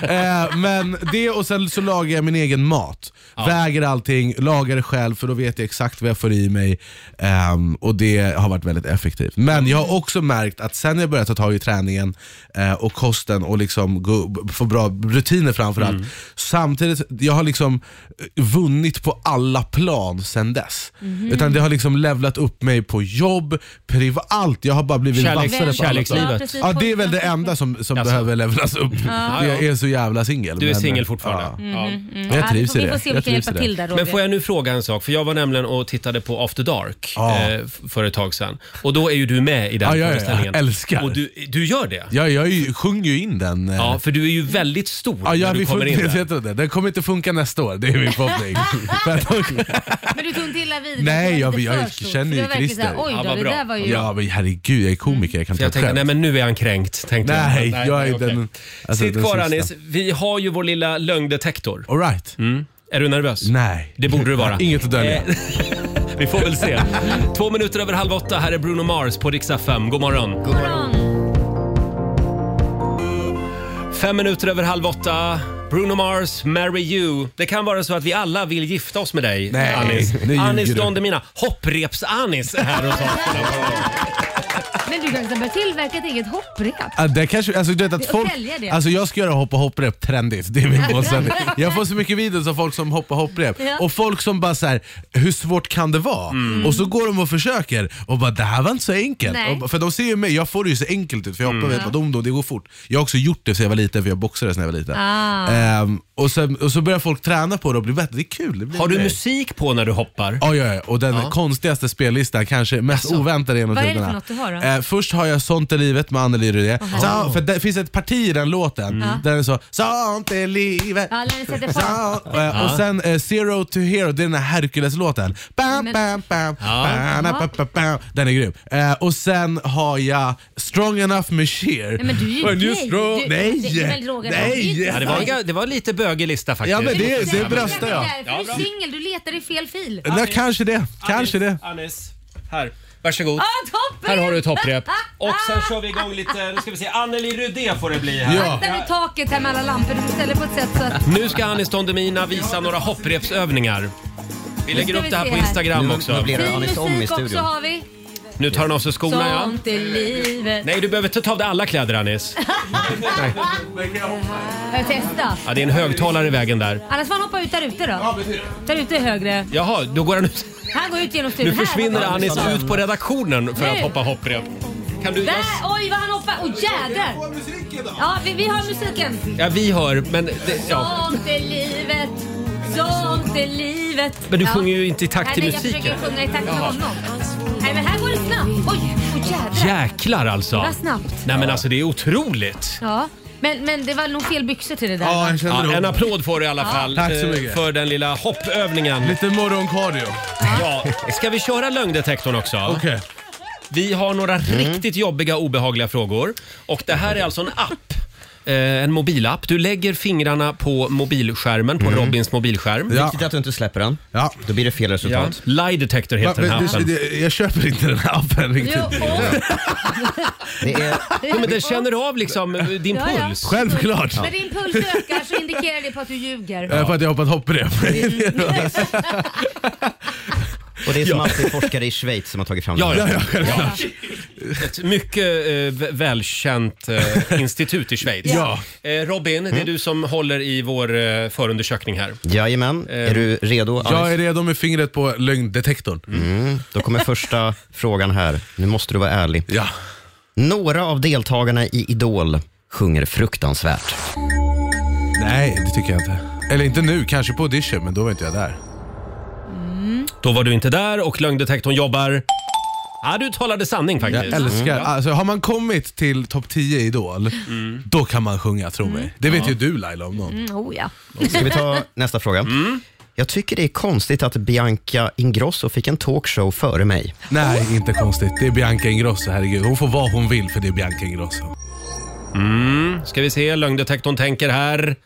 J: jag. Ehm, men det och sen så lagar jag min egen mat. Väger allting, lagar det själv för då vet jag exakt vad jag får i mig. Ehm, och det har varit väldigt effektivt. Men jag har också märkt att sen jag börjat ta tag i träningen eh, och kosten och liksom gå, få bra rutiner framförallt. Samtidigt, jag har liksom eh, vunnit på alla plan sen dess. Utan det har liksom levlat upp mig på jobb, privat, allt. Jag har bara blivit
A: Kärleks-
J: vassare på alla plan.
A: kärlekslivet.
C: Ja, precis.
J: Ja, det är väl det enda som, som
A: Jaså.
J: behöver levlas upp. Jag är så jävla singel.
A: Du är
J: men- eh,
A: singel fortfarande.
J: Ja.
A: Ja.
J: Men Jag trivs
C: Mm. ja,
J: i det.
C: vi får- Vi får se om
J: Jag
C: vi kan
J: trivs
C: hjälpa
J: i det.
C: till där Roger.
A: Men får jag nu fråga en sak? För jag var nämligen och tittade på After Dark
J: Ja.
A: eh, f- för ett tag sedan. Och då är ju du med i den
J: Ja, ja, ja.
A: föreställningen.
J: Jag älskar.
A: Och du, du gör det?
J: Ja, jag är ju- sjunger ju in den. eh,
A: Ja, för du är ju väldigt stor
J: Ja, jag
A: när du
J: vi
A: kommer
J: får,
A: in
J: jag
A: där.
J: tror det. Den kommer inte funka nästa år, det är min förhoppning. För att de-
C: Men du tog inte illa vid dig?
J: Nej,
C: Det var
J: jag-
C: lite
J: jag
C: för stort.
J: känner
C: Det
J: ju
C: var verkligen så här,
J: Christer.
C: Oj
A: Ja,
C: då,
A: vad
C: det
A: bra.
C: där var ju...
J: ja, men herregud, jag är komiker, jag kan
A: För
J: ta
A: jag
J: ett
A: tänkte,
J: skämt.
A: nej men nu är han kränkt. Tänkte
J: Nej,
A: jag,
J: jag är
A: okej.
J: den... alltså,
A: Sitt
J: den
A: kvar
J: sista.
A: Anis, vi har ju vår lilla lögndetektor.
J: All right.
A: Är du nervös?
J: Nej.
A: Det borde du vara.
J: Inget att dölja.
A: Eh, Vi får väl se. Två minuter över halv åtta, här är Bruno Mars på Rix FM. God morgon.
C: God morgon.
A: Fem minuter över halv åtta. Bruno Mars, Marry You. Det kan vara så att vi alla vill gifta oss med dig,
J: Nej,
A: Anis.
J: nu ljuger
A: Anis
J: du.
A: Don Demina, hoppreps-Anis är här hos oss.
C: Men du kanske bör tillverka ett eget hopprep?
J: Ja, det kanske, alltså, du vet
C: Det-
J: att
C: och
J: folk,
C: sälja det.
J: alltså jag ska göra hoppa hopprep trendigt. Det är min målsättning. Jag får så mycket videos av folk som hoppar hopprep
C: Ja. Mm.
J: och folk som bara så här, hur svårt kan det vara? Och så går de och försöker och bara, det här var inte så enkelt.
C: Nej.
J: Och, bara- för de ser ju mig, jag får det ju så enkelt ut för jag hoppar mm. vet, dom, dom, det går fort. Jag har också gjort det sedan jag var liten för jag boxades när jag var liten.
C: Ah.
J: Ehm, och, sen, och så börjar folk träna på det och bli bättre, det är kul. Det blir
A: Har du
J: grej.
A: musik på när du hoppar?
J: Ja, ja, ja, och den konstigaste spellistan, kanske mest oväntade genom
C: Alltså, Vad är det för
J: tiderna.
C: något du har då?
J: Eh, först har jag Sånt är livet med Anneli Rudé. Så, för det finns ett parti i den låten där den är så Sånt är livet.
C: Mm. Ja, när ni sätter fart.
J: Så, eh, och sen eh, Zero to Hero, det är den här Hercules-låten. Bam,
C: Men-
J: bam, bam, bam, bam, bam, bam. Den är grym. Eh, och sen har jag Strong Enough med Cher.
C: Nej, men du är ju
J: When you
C: gay.
J: strong-
C: Du- det är väl
J: Nej!
C: Roger, du är ju
J: Nej!
A: Ja, det, var, en- det var en lite bögig lista faktiskt.
J: Ja, men det, det bröstar jag.
C: Därför Du är singel, du letar i fel fil.
J: Nej, kanske det. Kanske det.
A: Anis, här. Varsågod.
C: Ah, toppen!
A: Här har du ett hopprep. Och sen kör vi igång lite, nu ska vi se, Anneli Rudé får det bli här.
J: Ja.
C: Akta nu taket här med alla lampor. Du får ställa på ett sätt så att...
A: Nu ska Anis Don Demina visa några hopprepsövningar. Vi lägger
C: ska
A: upp
C: vi
A: det här
C: se
A: på
C: här.
A: Instagram
J: Mm.
G: Nu-
A: också.
G: nu blir det-
C: Fin
G: Anis Tom i
C: musik också
G: studion.
C: har vi.
A: Nu tar han av sig skorna ja.
C: Sånt är livet.
A: Nej, du behöver inte ta av dig alla kläder Anis.
C: Jag testa.
A: Ja, det är en högtalare i vägen där.
C: Annars får han hoppa ut där ute då. Där ute är högre.
A: Jaha, då går han ut.
C: Han går ut genom
A: Nu
C: studion. Här
A: försvinner
C: hoppar han.
A: Anis ut på redaktionen för att
C: Nu.
A: hoppa hopprep. Kan du...
C: Där! Oj, vad han hoppar. Åh, jädrar! Ja, vi, vi har musiken.
A: Ja, vi hör, men... Det, ja.
C: Sånt är livet. Sånt är livet.
A: Men du
C: Ja.
A: sjunger ju inte i takt
C: Nej,
A: till
C: men
A: musiken.
C: Jag försöker sjunga i takt med honom. Nej, men här går det snabbt. Oj, åh jädrar.
A: Jäklar alltså!
C: Vad snabbt.
A: Nej men alltså det är otroligt!
C: Ja, men, men det var nog fel byxor till det där.
J: Ja, jag
A: Ja,
J: känner
A: en
J: det.
A: applåd får du i alla fall
J: Tack så
A: eh,
J: mycket.
A: för den lilla hoppövningen.
J: Lite morgonkardio.
A: Ja. Ska vi köra lögndetektorn också?
J: Okej.
A: Vi har några
J: Mm.
A: riktigt jobbiga obehagliga frågor. Och det här är alltså en app. eh, En mobilapp. Du lägger fingrarna på mobilskärmen, på Robins mobilskärm.
J: Mm. Ja.
G: Viktigt att du inte släpper den.
J: Ja.
G: Då blir det fel
A: Ja.
G: resultat.
A: Lie detector
J: Va,
A: heter den här
J: men,
A: appen.
J: du, det- jag köper inte den här appen
C: Jo,
J: riktigt.
C: och,
G: Det är,
A: Ja, men den känner av liksom eh, din
C: Ja, ja.
A: puls.
J: Självklart!
C: när din puls ökar så indikerar det på att du ljuger.
J: Eh, För att jag hoppat hopprep.
G: och det är som alltid forskare i Schweiz som har tagit fram
A: Ja,
G: den.
A: ja.
G: här.
A: självklart. Ett mycket eh, v- välkänt eh, institut i Schweiz.
J: Ja.
A: Eh, Robin, det är du som håller i vår eh, förundersökning här.
G: Jajamän. Är du redo?
J: Eh, Jag är
G: Alice?
J: redo med fingret på lögndetektorn.
G: Mm. Då kommer första frågan här. Nu måste du vara ärlig.
J: Ja.
G: Några av deltagarna i Idol sjunger fruktansvärt.
J: Nej, det tycker jag inte. Eller inte nu, kanske på audition, men då var inte jag där.
A: Då var du inte där och lögndetektorn jobbar... Ja, du talade sanning
J: Jag
A: faktiskt.
J: älskar, alltså har man kommit till topp 10 i Idol, då kan man sjunga, tro mig. Det vet ju du Laila om någon.
C: Mm, oh, ja.
G: Ska vi ta nästa fråga?
J: Mm.
G: Jag tycker det är konstigt att Bianca Ingrosso fick en talkshow före mig.
J: Nej, inte konstigt. Det är Bianca Ingrosso, herregud. Hon får vara hon vill för det är Bianca Ingrosso.
A: Ska vi se, lögndetektorn tänker här.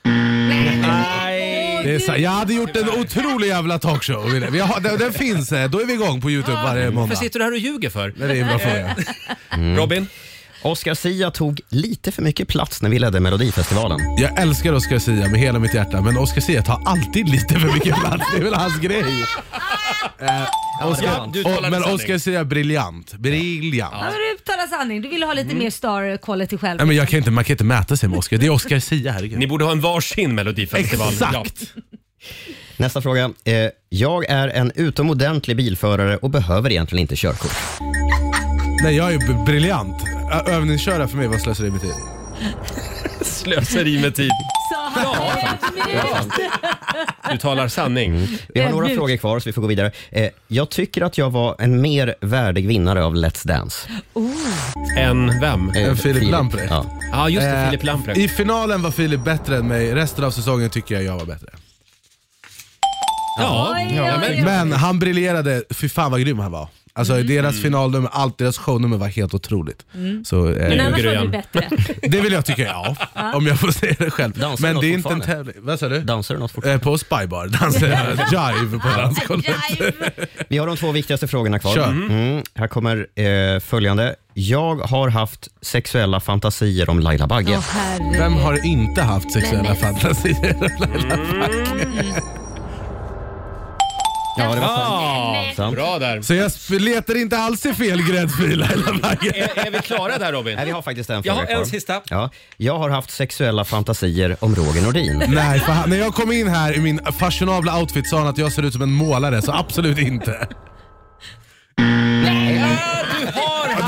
J: Det är så, jag hade gjort en otrolig jävla talkshow. Vi har, den, den finns, eh, då är vi igång på Youtube varje måndag.
A: Varför sitter du här och ljuger för?
J: Det är en bra fråga. Mm.
A: Robin?
G: Oscar Sia tog lite för mycket plats när vi ledde Melodifestivalen.
J: Jag älskar Oscar Sia med hela mitt hjärta, men Oscar Sia tar alltid lite för mycket plats. Det är väl hans grej.
A: Ja, du
J: Och,
A: talade
J: men
A: sanning.
J: Oscar Sia är briljant. Briljant.
C: Ja, men du uttalar sanning. Du ville ha
A: Mm.
C: lite mer star quality själv.
J: Nej, men jag kan inte, man kan inte mäta sig med Oscar. Det är Oscar Sia, herregud.
A: Ni borde ha en varsin melodifestival.
J: Exakt!
G: Nästa fråga. Eh, jag är en utomordentlig bilförare och behöver egentligen inte körkort.
J: Nej, jag är b- briljant. Ö- Övningsköra för mig var slöseri med tid.
A: Ja, slöseri med tid.
C: Sa han.
A: Du talar sanning.
G: Vi har några
C: Ödmjuk.
G: frågor kvar så vi får gå vidare. Eh, jag tycker att jag var en mer värdig vinnare av Let's Dance.
A: En vem?
G: Eh,
J: En Filip Lamprecht.
G: Ja.
A: Ja, just det.
J: Eh,
A: Filip Lamprecht.
J: I finalen var Filip bättre än mig. Resten av säsongen tycker jag jag var bättre.
A: Ja.
C: Oj, oj, oj.
A: men-
J: Men han briljerade. Fy fan vad grym han var. Alltså
G: Mm.
J: deras finalnummer, allt deras shownummer var helt otroligt.
C: Mm.
J: Så, eh,
C: Men annars var det ju bättre.
J: det vill jag tycka, ja.
C: Ja.
J: Om jag får säga det själv.
G: Dansar
J: Men
G: något
J: det är inte en
G: fortfarande?
J: tävling. Vad sa du?
G: Dansar du något fortfarande?
J: Eh, På Spybar dansar jag jive på dansgolvet.
G: Vi har de två viktigaste frågorna kvar.
J: Kör.
G: Mm, här kommer eh, följande. Jag har haft sexuella fantasier om Laila Bagge.
C: Åh, herregud.
J: Vem har inte haft sexuella
C: Nej, men-
J: fantasier? Laila Bagge?
G: Ja, det var
A: Ah,
G: sant. sant.
A: bra där.
J: Så jag sp- letar inte alls i fel gräddfil Laila Bagge.
A: Är, är vi klara där Robin?
G: Nej, vi har faktiskt en
A: Jag
G: fråga
A: har en
G: kvar.
A: sista.
G: Ja. Jag har haft sexuella fantasier om Roger Nordin.
J: Nej, för han, när jag kom in här i min fashionabla outfit sa han att jag ser ut som en målare, så absolut inte. Ja,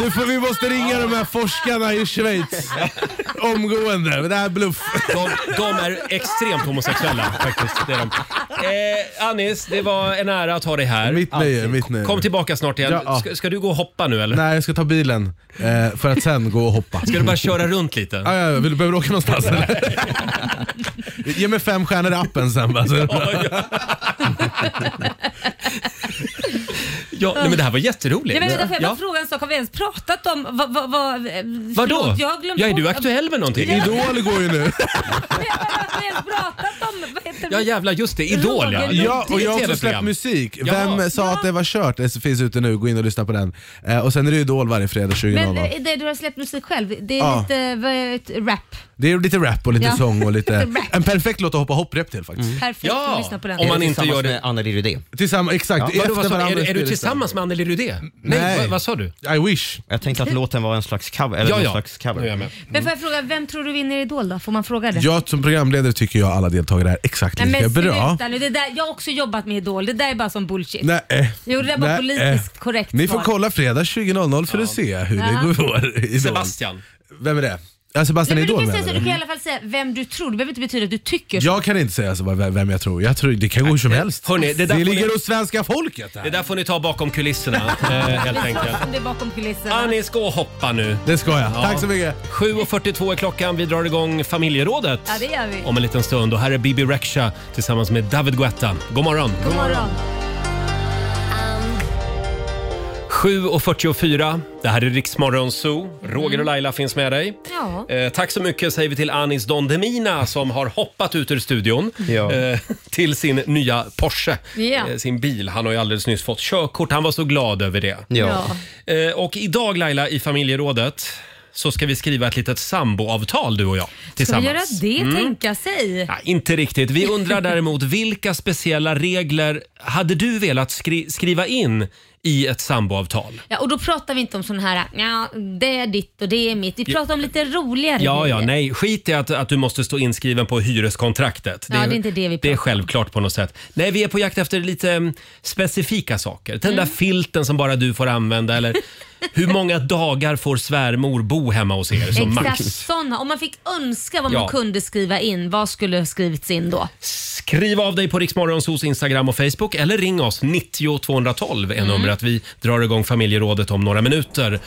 J: Du får, vi måste ringa de här forskarna i Schweiz omgående. Det här är bluff.
A: De, de är extremt homosexuella faktiskt. Det är de. Eh, Anis, det var en ära att ha dig här.
J: Mitt nöje, mitt nöje.
A: Kom tillbaka snart igen.
J: Ja, ja.
A: Ska, ska du gå och hoppa nu eller?
J: Nej, jag ska ta bilen eh, för att sen gå och hoppa.
A: Ska du bara köra runt lite?
J: Ja, ja, vill du behöver åka någonstans eller? Ge mig fem stjärnor i appen sen va. Så.
A: Ja, nej, men det här var jätteroligt.
C: Nej, men vänta, får jag bara
A: Ja.
C: fråga en sak? Har vi ens pratat om vad... vad, vad eh,
A: Vadå?
C: förlåt, Jag har glömt
A: Ja, är
C: bort-
A: du aktuell med någonting?
J: Idol går ju nu.
C: Nej, men Har vi ens pratat om... Vad heter
A: Ja jävlar, just det. Idol ja.
C: Roger Nordin.
J: Ja, och jag har också släppt
A: TV-program.
J: musik.
A: Ja.
J: Vem sa att det var kört? Det finns ute nu, gå in och lyssna på den. Eh, och sen är det ju Idol varje fredag
C: Men
J: 20.00.
C: eh, det, du har släppt musik själv, det är
J: Ja.
C: lite vad är det, rap.
J: Det är lite rap och lite
C: Ja.
J: sång och lite...
C: Lite rap. Mm.
J: En perfekt låt att hoppa hopprep till faktiskt.
C: Perfekt,
A: Ja,
C: lyssna på den.
A: om man
G: Är det
A: inte gör
G: tillsammans
A: det-
G: med Anneli Rydé.
J: Tillsammans, exakt.
A: Vadå, vad sa du?
J: varandra
A: Är, du- är du
J: spelar
A: tillsammans med Anneli Rydé? Nej.
J: Nej.
A: Vad, vad sa du?
J: I wish.
G: Jag tänkte att låten var en slags cover. Eller
A: Mm. Ja,
G: någon
A: ja.
G: Slags cover.
A: Nu är jag med.
C: Men får jag fråga, vem tror du vinner Idol då? Får man fråga det?
J: Jag som programledare tycker jag alla deltagare är exakt
C: Nej,
J: lika
C: men
J: bra.
C: sluta nu, det där, jag har också jobbat med Idol, det där är bara som bullshit.
J: Nej.
C: Jo, det där var
J: Nej.
C: politiskt korrekt
J: Ni får
C: svar.
J: kolla fredag 20.00 för att se hur det går. i Idol.
A: Sebastian.
J: Vem är det? Ja, Sebastian
C: Nej, men du,
J: Idol
C: kan
J: menar
C: säga så, du
J: du?
C: kan i alla fall säga vem du tror, det behöver inte betyda att du tycker så.
J: Jag kan inte säga så bara vem vem jag tror. Jag tror det kan gå hur som helst.
A: Hörrni, det
J: det
A: där får
J: ligger
A: ni-
J: hos svenska folket. Det,
A: Det
J: här.
A: där får ni ta bakom kulisserna eh, helt enkelt.
C: Som det är bakom kulisserna.
A: Anis, gå och hoppa nu.
J: det ska jag. Tack så mycket.
A: 7.42 är klockan. Vi drar igång familjerådet
C: Ja, det gör vi.
A: om en liten stund. Och här är Bibi Rexha tillsammans med David Guetta. God morgon!
C: God morgon.
A: 7.44. Det här är Riksmorgon Zoo. Roger och Laila finns med dig.
C: Mm. Ja.
A: Eh, tack så mycket säger vi till Anis Don Demina som har hoppat ut ur studion
G: Ja.
A: eh, till sin nya Porsche,
C: Ja.
A: eh, sin bil. Han har ju alldeles nyss fått körkort. Han var så glad över det.
G: Ja.
C: Ja.
A: Eh, och idag Laila i familjerådet så ska vi skriva ett litet samboavtal du och jag
C: Ska vi
A: tillsammans. Mm.
C: göra det, tänka sig?
A: Ja, inte riktigt. Vi undrar däremot vilka speciella regler hade du velat skri- skriva in i ett samboavtal?
C: Ja, och då pratar vi inte om sån här, ja, det är ditt och det är mitt. Vi pratar om lite roligare
A: Ja,
C: grejer.
A: ja, nej. Skit i att, att du måste stå inskriven på hyreskontraktet.
C: Ja, det är inte det vi
A: Det är
C: pratar om.
A: självklart på något sätt. Nej, vi är på jakt efter lite mm, specifika saker. Den
C: Mm.
A: där filten som bara du får använda eller hur många dagar får svärmor bo hemma hos er som
C: Exakt
A: max?
C: sådana. Om man fick önska vad
A: Ja.
C: man kunde skriva in, vad skulle ha skrivits in då?
A: Skriv av dig på Riksmorgonsos Instagram och Facebook eller ring oss. 90 212 är numret. Vi drar igång familjerådet om några minuter.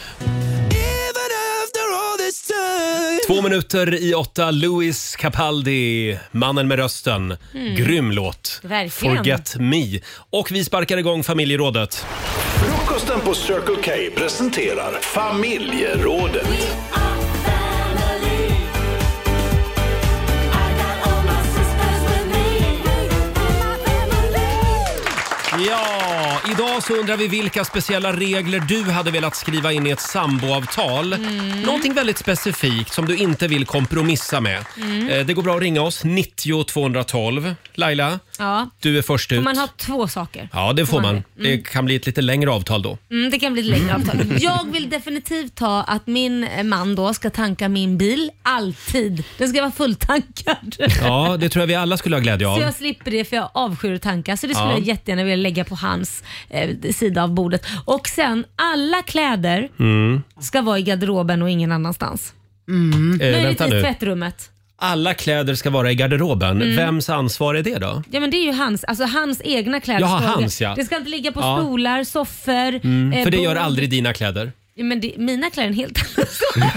A: Två minuter i åtta, Louis Capaldi, mannen med rösten. Grym låt.
C: Verkligen.
A: Forget me. Och vi sparkar igång familjerådet.
B: Frukosten på Circle K presenterar familjerådet.
A: Ja, idag så undrar vi vilka speciella regler du hade velat skriva in i ett samboavtal.
C: Mm.
A: Någonting väldigt specifikt som du inte vill kompromissa med.
C: Mm.
A: Eh, Det går bra att ringa oss, 90 212. Laila,
C: Ja.
A: du är först ut.
C: Får man ha två saker?
A: Ja, det får man. Det kan bli ett lite längre avtal då.
C: Mm, det kan bli ett längre avtal. Jag vill definitivt ta att min eh, man då ska tanka min bil alltid. Den ska vara fulltankad.
A: Ja, det tror jag vi alla skulle ha glädje av.
C: Så jag slipper det för jag avskyr att tanka. Så det skulle
A: Ja.
C: jag jättegärna vilja lägga på hans eh, sida av bordet. Och sen, alla kläder
A: Mm.
C: ska vara i garderoben och ingen annanstans.
A: Eh, vänta
C: Möjligtvis
A: nu.
C: tvättrummet.
A: Alla kläder ska vara i garderoben.
C: Mm.
A: Vems ansvar är det då?
C: Ja men det är ju hans, alltså hans egna kläder.
A: Jaha,
C: ska-
A: hans, ja.
C: Det ska inte ligga på
A: Ja. Mm,
C: stolar, soffor, eh,
A: För det gör
C: bord.
A: aldrig dina kläder.
C: Men det, mina klär en helt annan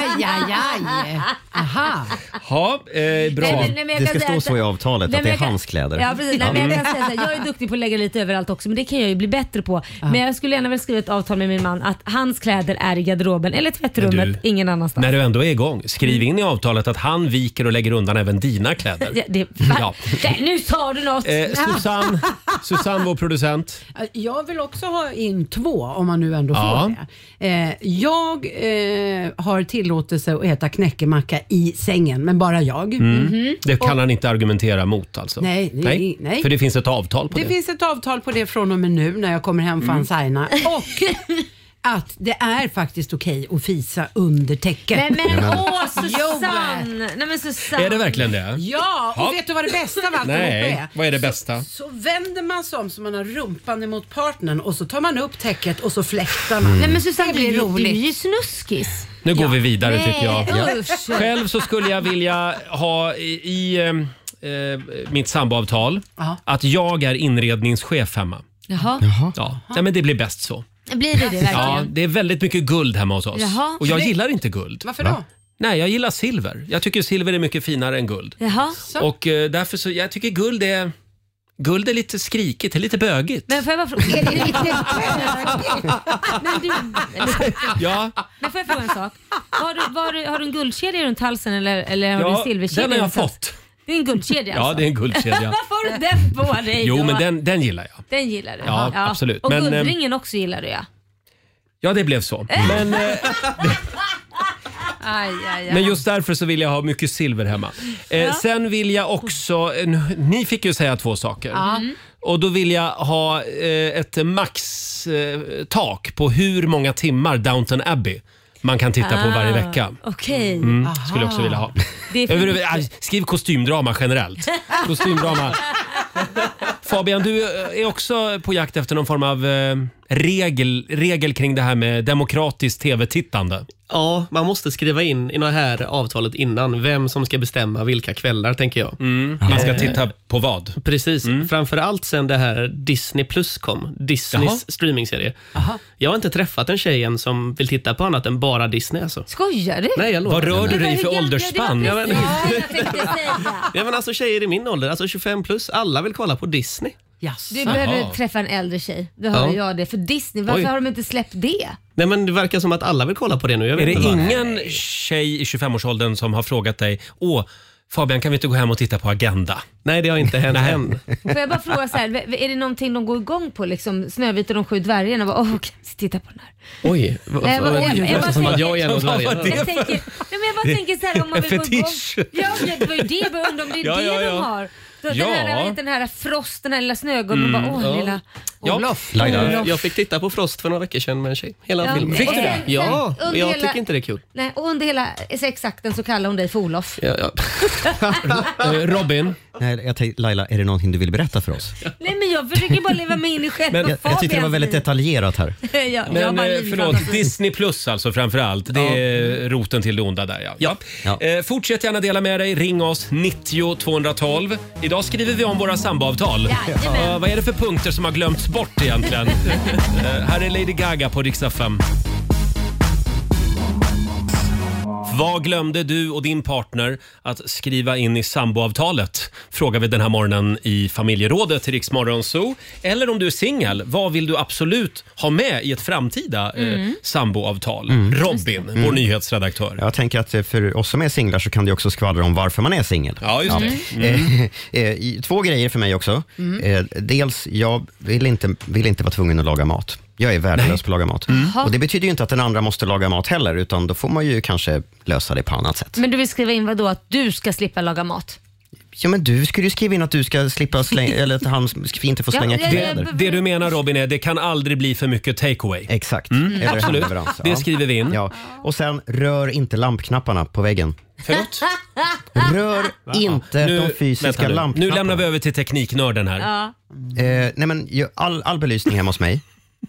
D: Aj, aj, aj. Aha.
A: Ja, eh, bra.
C: Nej, men- nej, men jag
G: det
C: kan
G: ska
C: säga
G: stå
C: att-
G: så i avtalet,
C: Nej,
G: att
C: men
G: det är
C: jag kan-
G: hans kläder.
C: Ja, precis. Nej, men jag kan säga så här, jag är duktig på att lägga lite överallt också men det kan jag ju bli bättre på. Men jag skulle gärna vilja skriva ett avtal med min man att hans kläder är i garderoben eller tvättrummet,
A: Men du-
C: ingen annanstans.
A: När du ändå är igång,
C: Mm.
A: skriv in i avtalet att han viker och lägger undan även dina kläder.
C: Ja, det,
A: Ja.
C: Nej, nu sa du något!
A: Eh, Susanne, Susanne, vår producent.
D: Jag vill också ha in två om man nu ändå
A: Ja.
D: får det. Eh, jag eh, har tillåtelse att äta knäckemacka i sängen, men bara jag.
A: Mm. Det
D: Och-
A: kan han inte argumentera mot alltså?
D: Nej, det- nej.
A: För det finns ett avtal på
D: Det
A: det.
D: finns ett avtal på det från och med nu när jag kommer hem från
A: Mm.
D: Saina. Och att det är faktiskt okej att fisa under täcket.
C: Nej men
D: Jajamän.
C: åh Susanne! Nej, men Susanne.
A: Är det verkligen det?
D: Ja, och
A: Ja.
D: vet du vad det bästa av allt
A: Nej,
D: är?
A: vad är det bästa?
D: Så vänder man sig om så man har rumpan emot partnern och så tar man upp täcket och så fläktar man.
A: Mm. Nej, men
C: Susanne, du är ju- du är ju snuskis.
A: Nu går vi vidare
C: Nej,
A: tycker jag.
C: usch.
A: Själv så skulle jag vilja ha i, i eh, eh, mitt samboavtal
D: Ja.
A: att jag är inredningschef hemma.
C: Jaha.
A: Ja. Nej, men det blir bäst så.
C: Blir det det verkligen?
A: Ja, det är väldigt mycket guld hemma hos oss.
C: Jaha.
A: Och jag
C: Det-
A: gillar inte guld.
D: Varför då?
A: Nej, jag gillar silver. Jag tycker silver är mycket finare än guld.
C: Jaha.
A: Och eh, därför så, jag tycker guld är, guld är lite skrikigt, det är lite bögigt.
C: Men får jag bara fråga? Är det lite men du,
A: Ja,
C: men får jag fråga en sak? Har du, var, du- har du en guldkedja runt halsen eller, eller har du en
A: ja
C: silverkedja?
A: den har jag
C: runt halsen?
A: fått.
C: Det är en guldkedja
A: Ja,
C: alltså?
A: det är en guldkedja.
C: Varför har du den på dig
A: Jo,
C: då?
A: men den, den gillar jag.
C: Den gillar du?
A: Ja, absolut.
C: Och
A: Men, eh,
C: guldringen också gillar du ja.
A: Ja, det blev så. Men, eh,
C: Aj, aj, aj.
A: men just därför så vill jag ha mycket silver hemma. Eh,
C: Ja.
A: Sen vill jag också... eh, nu- Ni fick ju säga två saker.
C: Ja.
A: Och då vill jag ha eh, ett maxtak på hur många timmar Downton Abbey man kan titta på varje
C: Ah,
A: vecka.
C: Okej.
A: Mm, skulle jag också vilja ha.
C: Det är för
A: Över,
C: mycket.
A: aj, skriv kostymdrama generellt. Kostymdrama. Fabian, du eh, är också på jakt efter någon form av eh, regel, regel kring det här med demokratiskt tv-tittande.
F: Ja, man måste skriva in i det här avtalet innan vem som ska bestämma vilka kvällar, tänker jag.
A: Man ska titta på vad?
F: Precis.
A: Mm.
F: Framförallt sen det här Disney Plus kom, Disneys
A: Jaha.
F: streamingserie. Jag har inte träffat en tjej än som vill titta på annat än bara Disney. Alltså.
C: Skojar du?
F: Nej, jag lovar.
A: Vad rör du dig i för
F: Ja, det var
A: åldersspann?
F: precis det
C: Ja, jag tänkte säga.
F: Ja, men alltså tjejer i min ålder, alltså 25 plus, alla vill kolla på Disney.
C: Du behöver träffa en äldre tjej. Då hör
F: Ja.
C: jag det. För Disney, varför
F: Oj.
C: har de inte släppt det?
F: Nej, men det verkar som att alla vill kolla på det nu. Jag vet
A: Är det
F: inte varför.
A: ingen tjej i 25-årsåldern som har frågat dig Åh, Fabian kan vi inte gå hem och titta på Agenda?
F: Nej, det har inte hänt än.
C: Får jag bara fråga så här, v- är det någonting de går igång på liksom? Snövit och de sju dvärgarna? Bara, Åh, kan vi titta på den här?
F: Oj,
C: Nej, vad- jag- jag bara
F: som att
C: tänker-
F: jag är en av
A: Vad var
F: dvärgarna.
A: det?
C: Jag, tänker, nej, men jag bara tänker så här om man
A: En
C: vill gå igång.
A: fetisch.
C: Ja, men det var ju det jag bara undrade om det är
A: Ja,
C: det
A: ja, ja.
C: de har. Då,
A: Ja.
C: Den, här, vet, den här Frost, den här lilla snögubben.
A: Mm,
C: bara, åh,
A: ja.
C: lilla.
A: Ja.
F: Jag, jag fick titta på Frost för några veckor sedan med en tjej. Hela
C: Ja.
F: filmen.
C: Fick du det?
F: Ja,
C: Under
F: och jag
C: hela-
F: tycker inte det är kul.
C: Nej, och under hela sexakten så kallar hon dig för Olof.
F: Ja, ja.
A: Eh, Robin?
G: Nej, jag tänkte, Laila, är det någonting du vill berätta för oss?
C: Nej, men jag försöker bara leva mig in i själva
G: jag, jag tyckte det var
C: Fabians
G: väldigt
C: liv.
G: detaljerat här.
C: Ja, jag har
A: Men
C: bara
A: eh,
C: livfantasi.
A: förlåt, Disney plus alltså framförallt. Det är roten till det onda där ja. ja. Eh, fortsätt gärna dela med dig. Ring oss, 90 212. Idag skriver vi om våra samboavtal.
C: Jajamän.
A: Eh, vad är det för punkter som har glömts bort egentligen? eh, här är Lady Gaga på riksdag 5. Vad glömde du och din partner att skriva in i samboavtalet? Frågar vi den här morgonen i familjerådet i Rix Morgon Zoo. Eller om du är singel, vad vill du absolut ha med i ett framtida eh, samboavtal? Robin, vår
G: Mm.
A: nyhetsredaktör.
G: Jag tänker att eh, för oss som är singlar så kan det också skvallra om varför man är singel.
A: Ja, just det.
G: Eh, eh, i- Två grejer för mig också.
A: Mm.
G: Eh, Dels, jag vill inte, vill inte vara tvungen att laga mat. Jag är värdelös på att laga mat.
A: Mm.
C: Jaha.
G: Och Det betyder ju inte att den andra måste laga mat heller, utan då får man ju kanske lösa det på annat sätt.
C: Men du vill skriva in vad då Att du ska slippa laga mat?
G: Ja, men du skulle ju skriva in att du ska slippa slänga, eller att han ska inte får
C: Ja,
G: slänga
C: ja, ja,
G: kläder.
A: Det du menar Robin är det kan aldrig bli för mycket takeaway.
G: Exakt.
A: Mm,
G: Eller
A: absolut.
G: handleverans, ja.
A: Det skriver vi in.
G: Ja. Och sen, rör inte lampknapparna på väggen.
A: Förlåt?
G: Rör inte de fysiska
A: vänta nu.
G: lampknapparna.
A: Nu lämnar vi över till tekniknörden här.
C: Ja.
G: Eh, nej men, ju- all, all belysning hemma hos mig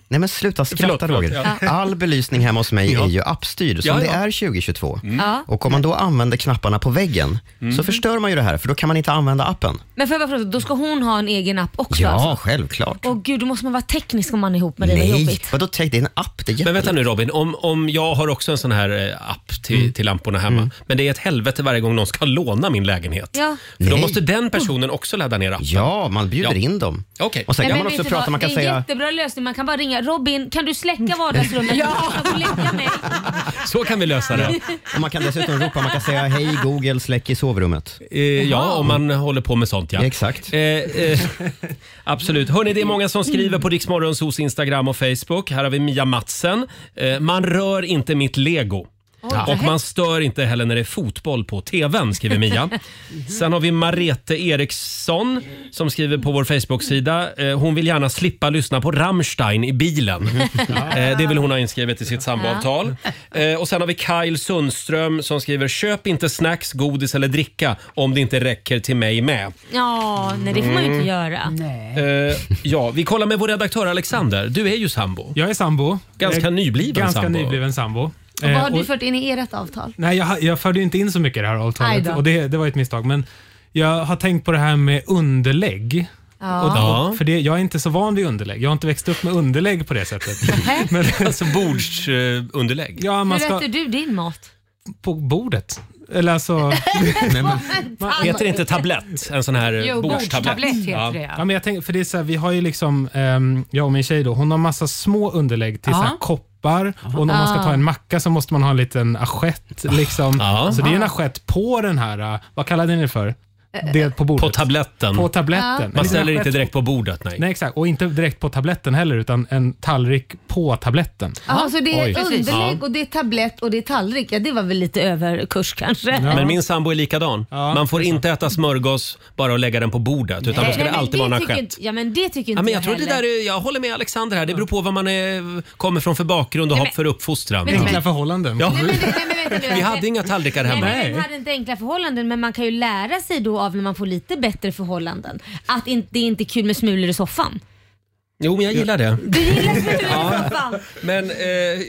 G: Nej men sluta skratta
A: Förlåt, förlåt,
G: Roger.
A: ja.
G: All belysning hemma hos mig
A: Ja.
G: är ju appstyrd som
A: Ja,
G: det
A: ja.
G: är 2022.
C: Mm. Ja.
G: Och om man då använder knapparna på väggen så förstör man ju det här för då kan man inte använda appen.
C: Men får jag bara fråga, då ska hon ha en egen app också?
G: Ja,
C: alltså?
G: självklart.
C: Åh gud, då måste man vara teknisk om man är ihop med dig. Vad jobbigt.
G: vadå tänk? Det är en app. Det är
A: Men vänta nu Robin, om, om jag har också en sån här eh, app till,
G: Mm.
A: till lamporna hemma. Men det är ett helvete varje gång någon ska låna min lägenhet.
C: Ja.
A: För då
G: Nej.
A: måste den personen också ladda ner appen.
G: Ja, man bjuder in dem.
A: Okej.
G: Och sen
C: Nej,
G: kan
C: men
G: man också
C: vet du
G: prata,
C: vad?
G: man kan
C: det är en
G: säga
C: jättebra lösning. Man kan bara ringa Robin, kan du
A: Mm.
C: släcka vardagsrummet?
D: Ja.
C: Jag går och lägga mig.
A: Så kan vi lösa det.
G: Och man kan dessutom ropa, man kan säga hej Google, släck i sovrummet.
A: Eh, ja, om man håller på med sånt ja.
G: Exakt.
A: Eh, eh, absolut. Hörni, det är många som skriver på Riksmorgons hos Instagram och Facebook. Här har vi Mia Matsen. Eh, man rör inte mitt lego.
C: Oj,
A: Och man stör inte heller när det är fotboll på TVn, skriver Mia. Sen har vi Marete Eriksson som skriver på vår Facebook-sida. Eh, Hon vill gärna slippa lyssna på Rammstein i bilen. Eh, Det vill hon ha inskrivet i sitt samboavtal. Eh, Och sen har vi Kyle Sundström som skriver “Köp inte snacks, godis eller dricka om det inte räcker till mig med”.
C: Ja, nej det får man ju
A: Mm.
C: inte göra.
A: Eh, ja, vi kollar med vår redaktör Alexander. Du är ju sambo.
H: Jag är sambo.
A: Ganska
H: Jag är
A: nybliven
H: ganska
A: sambo.
H: nybliven sambo.
C: Och vad
H: Eh,
C: har
H: och-
C: du fört in i ert avtal?
H: Nej, jag, jag förde ju inte in så mycket i det här
C: Aj
H: avtalet
C: då.
H: och det, det var ju ett misstag. Men jag har tänkt på det här med underlägg.
C: Ja.
H: Och,
A: Ja.
H: och, för det, jag är inte så van vid underlägg. Jag har inte växt upp med underlägg på det sättet. Men,
A: Alltså bordsunderlägg.
H: ja,
C: Hur
H: man ska
C: äter du din mat?
H: på bordet. Eller alltså,
A: Heter det inte tablett? En sån här eh,
D: Jo,
A: bordstablett?
D: bordstablett heter
A: Ja.
D: det
H: ja,
D: ja.
H: men jag tänker, för det är så här, vi har ju liksom, ehm, jag och min tjej då, hon har massa små underlägg till
D: Ja.
H: så här koppar och när man ska
C: Ah.
H: ta en macka så måste man ha en liten assiett. Liksom.
A: Ja.
H: Så det är en assiett på den här, eh, vad kallade ni det för? Det på bordet.
A: På tabletten.
H: På tabletten.
A: Man
H: En liten
A: ställer inte
H: assiett
A: direkt på bordet, nej.
H: Nej, exakt. Och inte direkt på tabletten heller, utan en tallrik på tabletten.
C: Ja, så det är
H: Oj.
C: underlägg och det är tablett och det är tallrik. Ja, det var väl lite överkurs kanske.
H: Ja.
A: Men min sambo är likadan.
H: Ja,
A: Man får inte äta smörgås bara och lägga den på bordet utan då ska det
C: men
A: alltid vara en
C: tycker
A: assiett.
C: inte- Ja, men det tycker inte
A: Ja, men jag
C: jag
A: tror det
C: heller.
A: där är, jag håller med Alexander här. Det beror på vad man är, kommer från för bakgrund och har för uppfostran.
C: men-
H: Enkla förhållanden.
A: Ja.
C: Nej, men, nej, men vänta nu.
A: Vi hade inga tallrikar
C: Nej,
A: hemma.
C: men vi hade inte enkla förhållanden men man kan ju lära sig då av när man får lite bättre förhållanden att in, det är inte är kul med smulor i soffan.
A: Jo, men jag gillar det.
C: Du gillar smulor i soffan.
A: Men eh,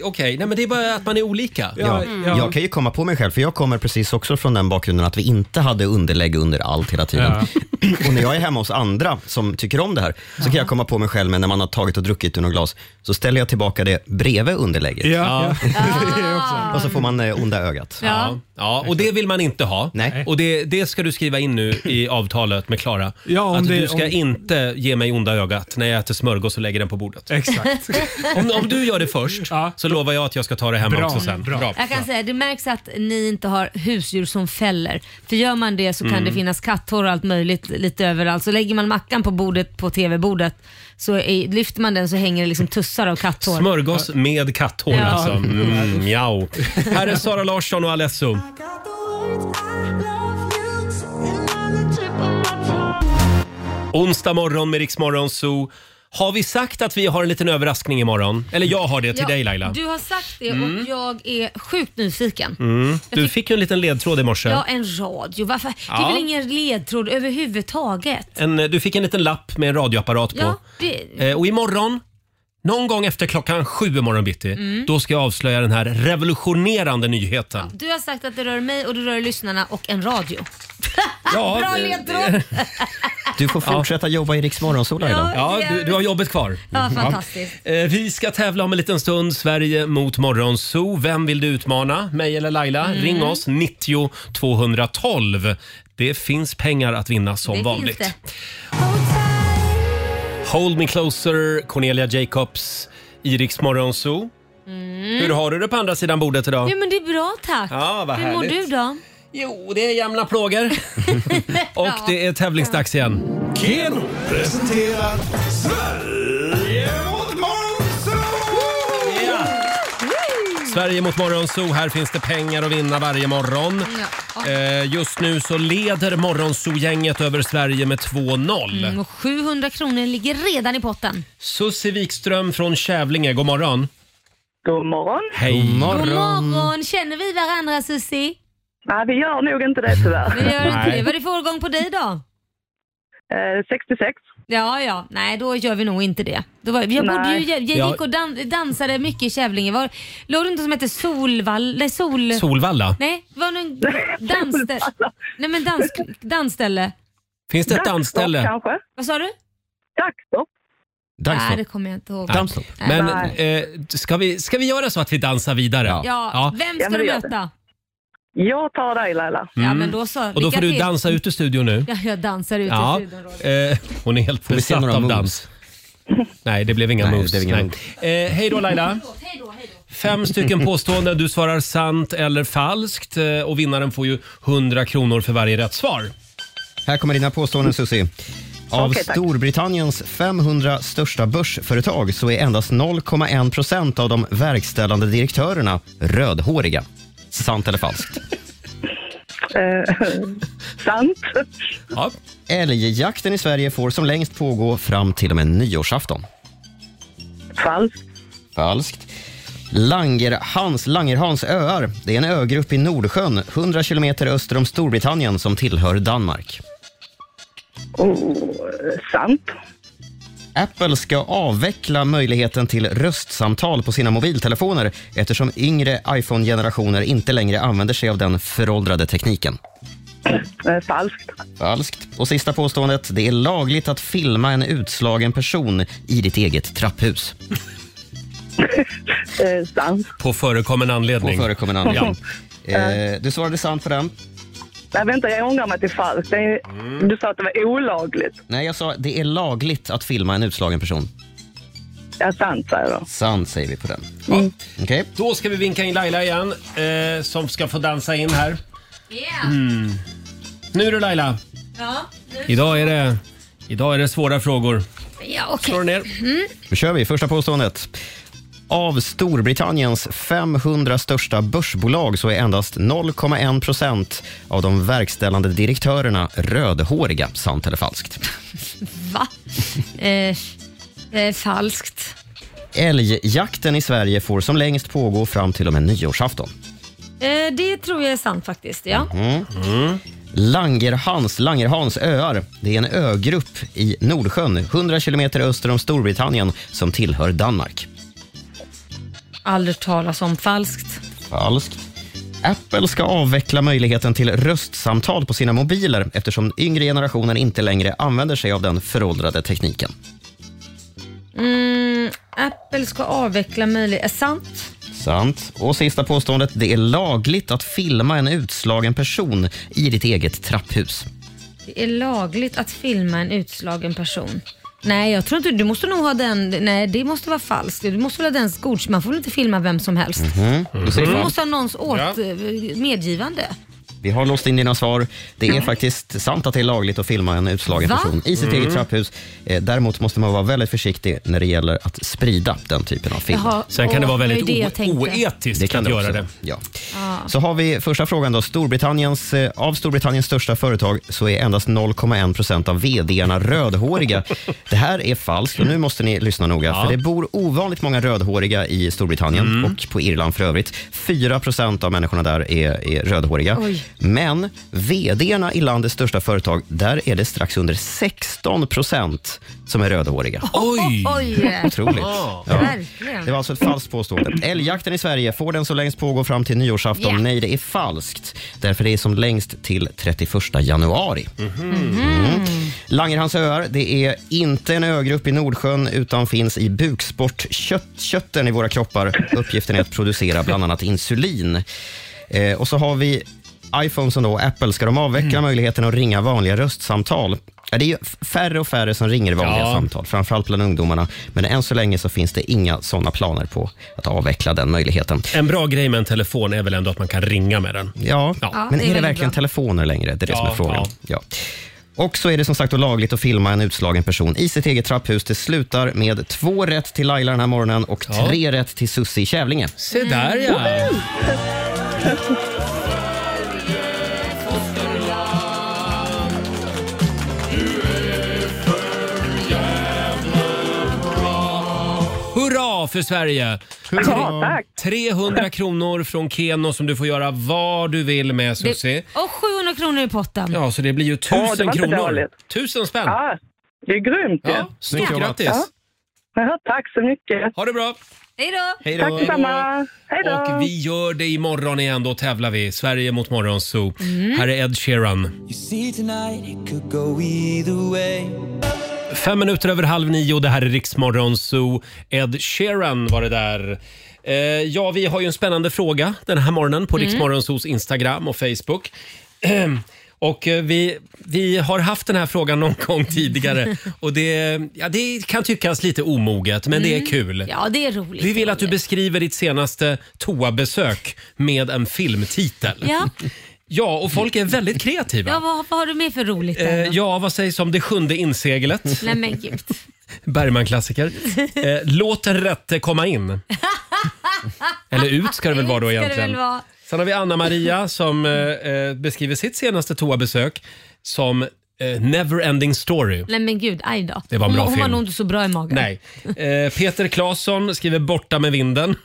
A: okej, Nej, men det är bara att man är olika.
H: Ja,
C: Mm.
H: ja.
G: Jag kan ju komma på mig själv, för jag kommer precis också från den bakgrunden att vi inte hade underlägg under allt hela tiden. Och när jag är hemma hos andra som tycker om det här, så kan jag komma på mig själv, men när man har tagit och druckit ur något glas, så ställer jag tillbaka det bredvid underlägget.
H: Ja, ja.
G: Och så får man eh, onda ögat.
A: Ja. ja, och det vill man inte ha.
G: Nej.
A: Och det, det ska du skriva in nu i avtalet med Klara.
H: Ja, om
A: att
H: det-
A: du ska
H: om-
A: inte ge mig onda ögat när jag äter smörgås och lägger den på bordet.
H: Exakt.
A: Om, om du gör det först
H: Ja.
A: så lovar jag att jag ska ta det hem
H: Bra,
A: också sen.
H: bra.
C: Jag kan säga det märks att ni inte har husdjur som fäller. För gör man det så kan
A: Mm.
C: det finnas katthår och allt möjligt lite överallt. Så lägger man mackan på bordet på TV-bordet så är, lyfter man den så hänger det liksom tussar av katthår.
A: Smörgås med katthår
C: Ja.
A: alltså. Mm, mjau. Här är Sara Larsson och Alesso. Onsdag morgon med Rix Morgon Zoo. Har vi sagt att vi har en liten överraskning imorgon?
H: Mm.
A: Eller jag har det till
C: Ja,
A: dig Laila. Mm. Du,
C: Du har sagt det och jag är sjukt nyfiken.
A: Mm. fick ju en liten ledtråd i morse.
C: Ja, en radio. Varför? Det
A: Ja.
C: är väl ingen ledtråd överhuvudtaget?
A: En, eh, du fick en liten lapp med en radioapparat på.
C: Ja, det,
A: Eh, och imorgon, någon gång efter klockan sju imorgon bitti,
C: Mm.
A: då ska jag avslöja den här revolutionerande nyheten.
C: du har sagt att det rör mig och det rör lyssnarna och en radio.
A: Ja,
C: Ah, Bra
A: eh,
C: ledtråd!
G: Du får fortsätta jobba i Riks Morgonzoo, Laila.
A: Ja, du, du har jobbet kvar.
C: Ja, fantastiskt.
A: Eh, Vi ska tävla om en liten stund. Sverige mot Morgonzoo. Vem vill du utmana? Mig eller Laila?
C: Mm.
A: Ring oss, 90 212. Det finns pengar att vinna som
C: Det finns
A: vanligt.
C: det.
A: Hold me closer, Cornelia Jacobs, Iriks Morgonzoo. Hur har du det på andra sidan bordet idag?
C: Mm. Jo men det är bra tack.
A: Ja, vad
C: Hur mår
A: härligt.
C: du då?
A: Jo, det är jämna plågor. Och det är tävlingsdags igen.
B: Keno presenterar Sverige mot Monzo!
A: Sverige mot Morgonzoo. Här finns det pengar att vinna varje morgon.
C: Ja.
A: Eh, Just nu så leder Morgonzoo-gänget över Sverige med 2-0.
C: Mm, och 700 kronor ligger redan i potten.
A: Susie Wikström från Kävlinge, god morgon.
E: God morgon.
A: Hej.
C: God morgon! Känner vi varandra Susie?
E: Nej, vi gör nog inte det tyvärr.
C: Vi gör inte
A: Nej.
C: det. Vad är det för årgång på dig då?
E: Eh, 66.
C: Ja, ja. Nej, då gör vi nog inte det. Då var, jag,
E: Nej.
C: bodde ju, jag, jag
E: Ja.
C: gick och dan, dansade mycket i Kävlinge. Var, låg det inte som hette Solvall, nej, Sol...
A: Solvalla?
C: Nej, var det en dansställe? nej, men dans, dansställe.
A: Finns det ett
C: Dagsdopp
A: dansställe?
E: kanske?
C: Vad sa du?
E: Dagsdopp.
A: Dagsdopp.
C: Nej, det kommer jag inte ihåg.
A: Dansstopp.
C: Nej.
A: Men
C: Nej.
A: eh, ska, vi, ska vi göra så att vi dansar vidare?
C: ja. vem ska du möta?
E: Jag tar dig Laila.
C: Ja, men då så.
A: Mm. Och då
C: Lycka
A: får du
C: till.
A: dansa ut ur studion nu.
C: Ja, jag dansar ut
A: Ja.
C: i studion. Roger.
A: Eh, hon är helt
G: Får vi se
A: besatt
G: några
A: av
G: moves?
A: dans. Nej, det blev inga
G: Nej, det
A: moves.
G: blev inga
A: Nej. Eh, hej då Laila. Fem stycken påståenden. Du svarar sant eller falskt eh, och vinnaren får ju 100 kronor för varje rätt svar.
G: Här kommer dina påståenden Susie. Av
A: Okej, tack.
G: Storbritanniens 500 största börsföretag så är endast 0,1 procent av de verkställande direktörerna rödhåriga. Sant eller falskt?
E: Eh, sant.
A: Ja.
G: Älgjakten i Sverige får som längst pågå fram till och med nyårsafton.
E: Falskt.
G: Falskt. Langerhans, Langerhans öar, det är en ögrupp i Nordsjön 100 kilometer öster om Storbritannien som tillhör Danmark.
E: Oh, sant.
G: Apple ska avveckla möjligheten till röstsamtal på sina mobiltelefoner eftersom yngre iPhone-generationer inte längre använder sig av den föråldrade tekniken.
E: Eh, falskt.
G: Falskt. Och sista påståendet. Det är lagligt att filma en utslagen person i ditt eget trapphus.
E: Eh, sant.
A: På förekommen anledning.
G: På förekommen anledning.
E: Ja.
G: Eh, du svarade sant på den.
E: Nej, vänta, jag ångrar mig till falskt. Det är,
A: Mm.
E: Du sa att det var olagligt.
G: Nej, jag sa det är lagligt att filma en utslagen person.
E: Ja, sant säger jag då.
G: Sant säger vi på den. Mm. Okej.
A: Då ska vi vinka in Laila igen eh, som ska få dansa in här. Mm. Nu du Laila.
C: Ja,
A: Idag är det, idag är det svåra frågor.
C: ja okej.
A: Slår ner.
C: Mm.
G: Då kör vi. Första påståendet. Av Storbritanniens 500 största börsbolag så är endast 0,1 procent av de verkställande direktörerna rödhåriga. Sant eller falskt?
C: Va? eh, eh, falskt.
G: Älgjakten i Sverige får som längst pågå fram till och med nyårsafton.
C: Eh, det tror jag är sant faktiskt. Ja.
G: Mm. Langerhans, Langerhans öar. Det är en ögrupp i Nordsjön, 100 kilometer öster om Storbritannien, som tillhör Danmark.
C: Aldrig talas om falskt.
G: Falskt. Apple ska avveckla möjligheten till röstsamtal på sina mobiler eftersom yngre generationer inte längre använder sig av den föråldrade tekniken.
C: Mm, Apple ska avveckla möjligheten. Sant.
G: Sant. Och sista påståendet. Det är lagligt att filma en utslagen person i ditt eget trapphus.
C: Det är lagligt att filma en utslagen person. Nej, jag tror inte du måste nog ha den. Nej, det måste vara falskt. Du måste väl ha den godkännande. Man får väl inte filma vem som helst.
G: Mhm. Då säger
C: Du
G: vi-
C: måste ha någons åt, eh,
G: Ja.
C: medgivande.
G: Vi har låst in dina svar. Det är faktiskt sant att det är lagligt att filma en utslagen
C: Va?
G: person i sitt
C: Mm.
G: eget trapphus. Eh, Däremot måste man vara väldigt försiktig när det gäller att sprida den typen av film.
C: Jaha, Sen kan det åh, vara väldigt det är det jag o- tänkte. oetiskt
A: att göra
G: också
A: det.
G: vara. Ja.
C: Ja.
G: Så har vi första frågan då. Storbritanniens, eh, av Storbritanniens största företag så är endast 0,1 procent av vdarna rödhåriga. Det här är falskt och nu måste ni lyssna noga.
A: Ja. Mm.
G: För det bor ovanligt många rödhåriga i Storbritannien och på Irland för övrigt. 4 procent av människorna där är, är rödhåriga.
K: Oj.
G: Men vdarna i landets största företag, där är det strax under 16 procent som är rödhåriga.
A: Oj!
C: Oj.
G: Otroligt.
C: Ja.
G: Ja.
C: Verkligen.
G: Det var alltså ett falskt påstående. Älgjakten i Sverige, får den så längst pågå fram till nyårsafton?
C: Ja.
G: Nej, det är falskt. Därför det är som längst till 31 januari. Mm. Langerhans öar, det är inte en ögrupp i Nordsjön utan finns i bukspottkörteln i våra kroppar. Uppgiften är att producera bland annat insulin. Eh, och så har vi iPhones och då, Apple, ska de avveckla möjligheten att ringa vanliga röstsamtal? Ja, det är ju f- färre och färre som ringer vanliga
A: Ja.
G: samtal, framförallt bland ungdomarna. Men än så länge så finns det inga sådana planer på att avveckla den möjligheten.
A: En bra grej med en telefon är väl ändå att man kan ringa med den.
G: Ja,
A: Ja,
G: men
A: det är
G: är, det
A: väldigt
G: verkligen
A: bra.
G: telefoner längre? Det är det som är
A: Ja,
G: frågan.
A: ja.
G: Ja. Och så är det som sagt då lagligt att filma en utslagen person i sitt eget trapphus. Det slutar med två rätt till Laila den här morgonen och tre rätt till Sussi i Kävlinge.
C: Mm.
A: Se där ja! Hurra för Sverige!
E: Ja, tack.
A: 300 kronor från Keno som du får göra vad du vill med Susie.
C: Det- Och 700 kronor i potten.
A: Ja, så det blir ju
E: Ja, det var
A: 1000
E: inte
A: kronor.
E: dåligt.
A: Tusen spänn.
E: Ja, Ah, det är grymt ju.
A: Ja, stort
E: Ja.
A: grattis.
E: Ja. Ja, tack så mycket.
A: Ha det bra.
C: Hej då!
A: Hej
E: Tack detsamma. Hej då.
A: Och vi gör det imorgon igen. Då tävlar vi. Sverige mot Morgonzoo.
E: Mm.
A: Här är Ed Sheeran. Fem minuter över halv nio. Det här är Riksmorgonzoo. Ed Sheeran var det där. Eh, ja, vi har ju en spännande fråga den här morgonen på
K: Mm.
A: Riksmorgonzoos Instagram och Facebook. Och eh, vi, vi har haft den här frågan någon gång tidigare och det, ja, det kan tyckas lite omoget men det är
C: Mm.
A: kul.
C: Ja, det är roligt.
A: Vi vill att du beskriver ditt senaste toabesök med en filmtitel.
C: Ja,
A: Ja, och folk är väldigt kreativa.
C: ja vad, vad har du mer för roligt? där
A: Eh,
C: då?
A: ja, vad sägs om Det sjunde inseglet?
C: Nej men gud.
A: Bergman-klassiker. Eh, låt den rätte komma in. Eller ut ska det väl vara då
C: Ska det
A: egentligen.
C: väl vara?
A: Sen har vi Anna-Maria som eh, eh, beskriver sitt senaste toabesök som eh, Neverending story.
C: Nej men gud, aj då.
A: Det var en
C: hon,
A: bra
C: hon var
A: film.
C: nog inte så bra i magen.
A: Nej. Eh, Peter Claesson skriver “Borta med vinden”.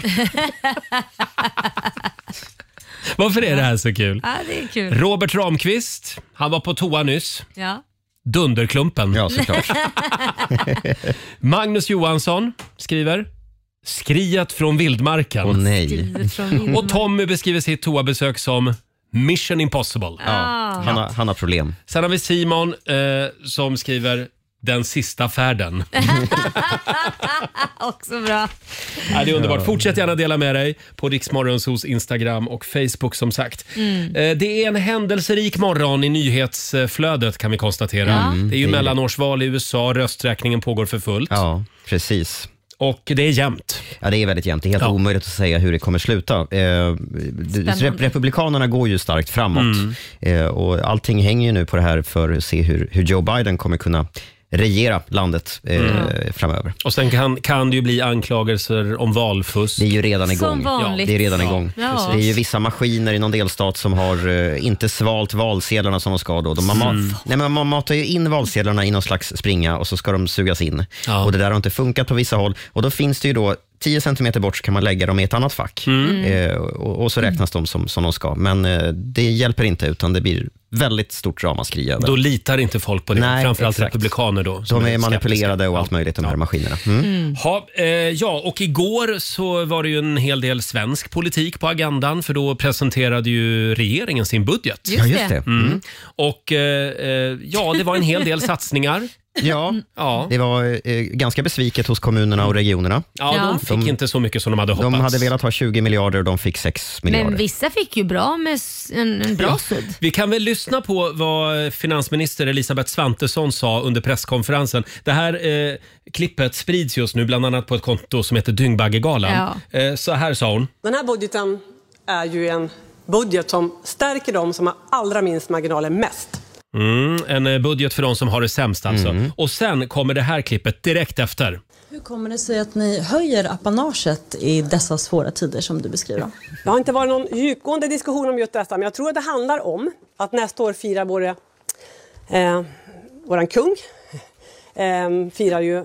A: Varför är det här så kul?
C: Ja, det är kul.
A: Robert Ramqvist, han var på toa nyss.
C: Ja.
A: Dunderklumpen. Ja,
C: såklart.
A: Magnus Johansson skriver “Skriet från vildmarken”. Oh, nej.
C: Skriet från vildmarken.
A: Och Tommy beskriver sitt toabesök som “Mission impossible”.
C: Ah. han har-
A: problem. Sen har vi Simon eh, som skriver “Den sista färden”.
C: Också bra.
A: Ja, det är underbart. Fortsätt gärna dela med dig på Riksmorgonsos Instagram och Facebook som sagt.
C: Mm.
A: Eh, Det är en händelserik morgon i nyhetsflödet kan vi konstatera.
G: Ja. Mm,
A: det är ju
G: det är-
A: mellanårsval i USA, rösträkningen pågår för fullt.
G: Ja, precis.
A: Och det är jämnt.
G: Ja, det är väldigt jämnt. Det är helt omöjligt att säga hur det kommer sluta. Eh, det- rep- republikanerna går ju starkt framåt
A: Mm.
G: eh, och allting hänger ju nu på det här för att se hur, hur Joe Biden kommer kunna regera landet eh,
A: Mm.
G: framöver.
A: Och sen kan, kan det ju bli anklagelser om valfusk. Det är
G: ju redan
A: Som
G: igång.
A: vanligt.
G: Det är redan
A: Ja,
G: igång.
A: precis.
G: Det är ju vissa maskiner i någon delstat som har eh, inte svalt valsedlarna som de ska. Då. De, man, ma-
A: Mm.
G: nej, men man matar ju in valsedlarna i någon slags springa och så ska de sugas in. Och Det där har inte funkat på vissa håll. Och Då finns det ju då 10 centimeter bort så kan man lägga dem i ett annat fack
A: Mm.
G: eh, och, och så räknas de som, som de ska. Men eh, det hjälper inte utan det blir väldigt stort ramaskri över.
A: Då litar inte folk på det.
G: Nej,
A: Framförallt
G: exakt.
A: republikaner då. som
G: De
A: är
G: är manipulerade och allt möjligt, de här maskinerna. Mm.
A: Ha, eh, ja, och igår så var det ju en hel del svensk politik på agendan för då presenterade ju regeringen sin budget.
G: Just Ja, just det. det.
A: Mm.
G: Mm.
A: Och eh, eh, ja, det var en hel del satsningar.
G: Ja,
A: ja.
G: det var eh, ganska besviket hos kommunerna och regionerna.
A: Ja, de fick inte så mycket som de hade hoppats.
G: De hade velat ha 20 miljarder och de fick 6 miljarder.
C: Men vissa fick ju bra med s- en, en bra
A: Ja.
C: sudd.
A: Vi kan väl lyssna på vad finansminister Elisabeth Svantesson sa under presskonferensen. Det här eh, klippet sprids just nu bland annat på ett konto som heter Dyngbaggegalan. Eh, så här sa hon.
L: Den här budgeten är ju en budget som stärker de som har allra minst marginaler mest.
A: Mm, en eh, budget för de som har det sämst alltså. Och sen kommer det här klippet direkt efter.
M: Hur kommer det sig att ni höjer apanaget i dessa svåra tider som du beskriver?
L: Det har inte varit någon djupgående diskussion om just detta, men jag tror att det handlar om att nästa år firar vår, eh, våran kung, eh, firar ju eh,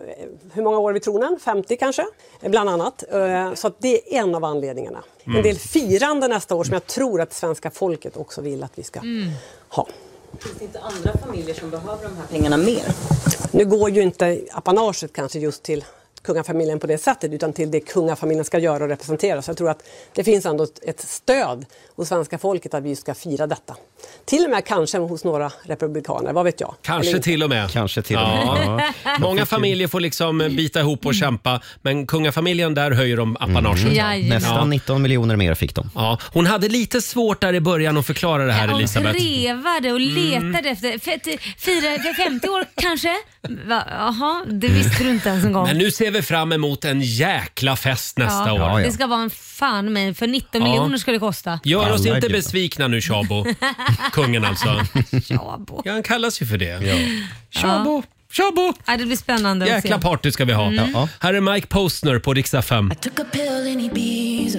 L: hur många år vid tronen? 50 kanske, eh, bland annat. Eh, så att det är en av anledningarna.
N: Mm.
L: En del firande nästa år som jag tror att svenska folket också vill att vi ska ha.
M: Mm. Finns det inte andra familjer som behöver de här pengarna mer?
L: Nu går ju inte apanaget kanske just till kungafamiljen på det sättet utan till det kungafamiljen ska göra och representera. Så jag tror att det finns ändå ett- ett stöd hos svenska folket att vi ska fira detta. Till och med kanske hos några republikaner, vad vet jag?
A: Kanske
L: Eller-
A: till och med.
G: Kanske till
L: och med.
A: Ja.
L: Ja.
A: Många familjer får liksom eh, bita ihop och kämpa, men kungafamiljen där höjer de apanaget.
C: Jajamän.
G: Nästan
A: Ja.
G: 19 miljoner mer fick de.
A: Ja. Hon hade lite svårt där i början att förklara det här,
C: Hon
A: Elisabeth. Mm.
C: trevade och letade efter, fe- fira, för 50 år kanske? Va- Jaha, det visste du inte ens en gång.
A: Mm. Men nu ser vi fram emot en jäkla fest nästa
C: Ja,
A: år.
C: Det ska vara en fan mig, för 19
A: Ja.
C: miljoner ska det kosta.
A: Gör oss inte besvikna nu, Chabo. Kungen alltså.
C: Chabo.
A: Ja, han kallas ju för det.
C: Tjabo,
A: tjabo!
C: Ja, det blir spännande att
A: Jäkla
C: se.
A: party ska vi ha.
C: Mm. Ja.
A: Här är Mike Postner på riksdag 5.
M: Took a pill in Ibiza.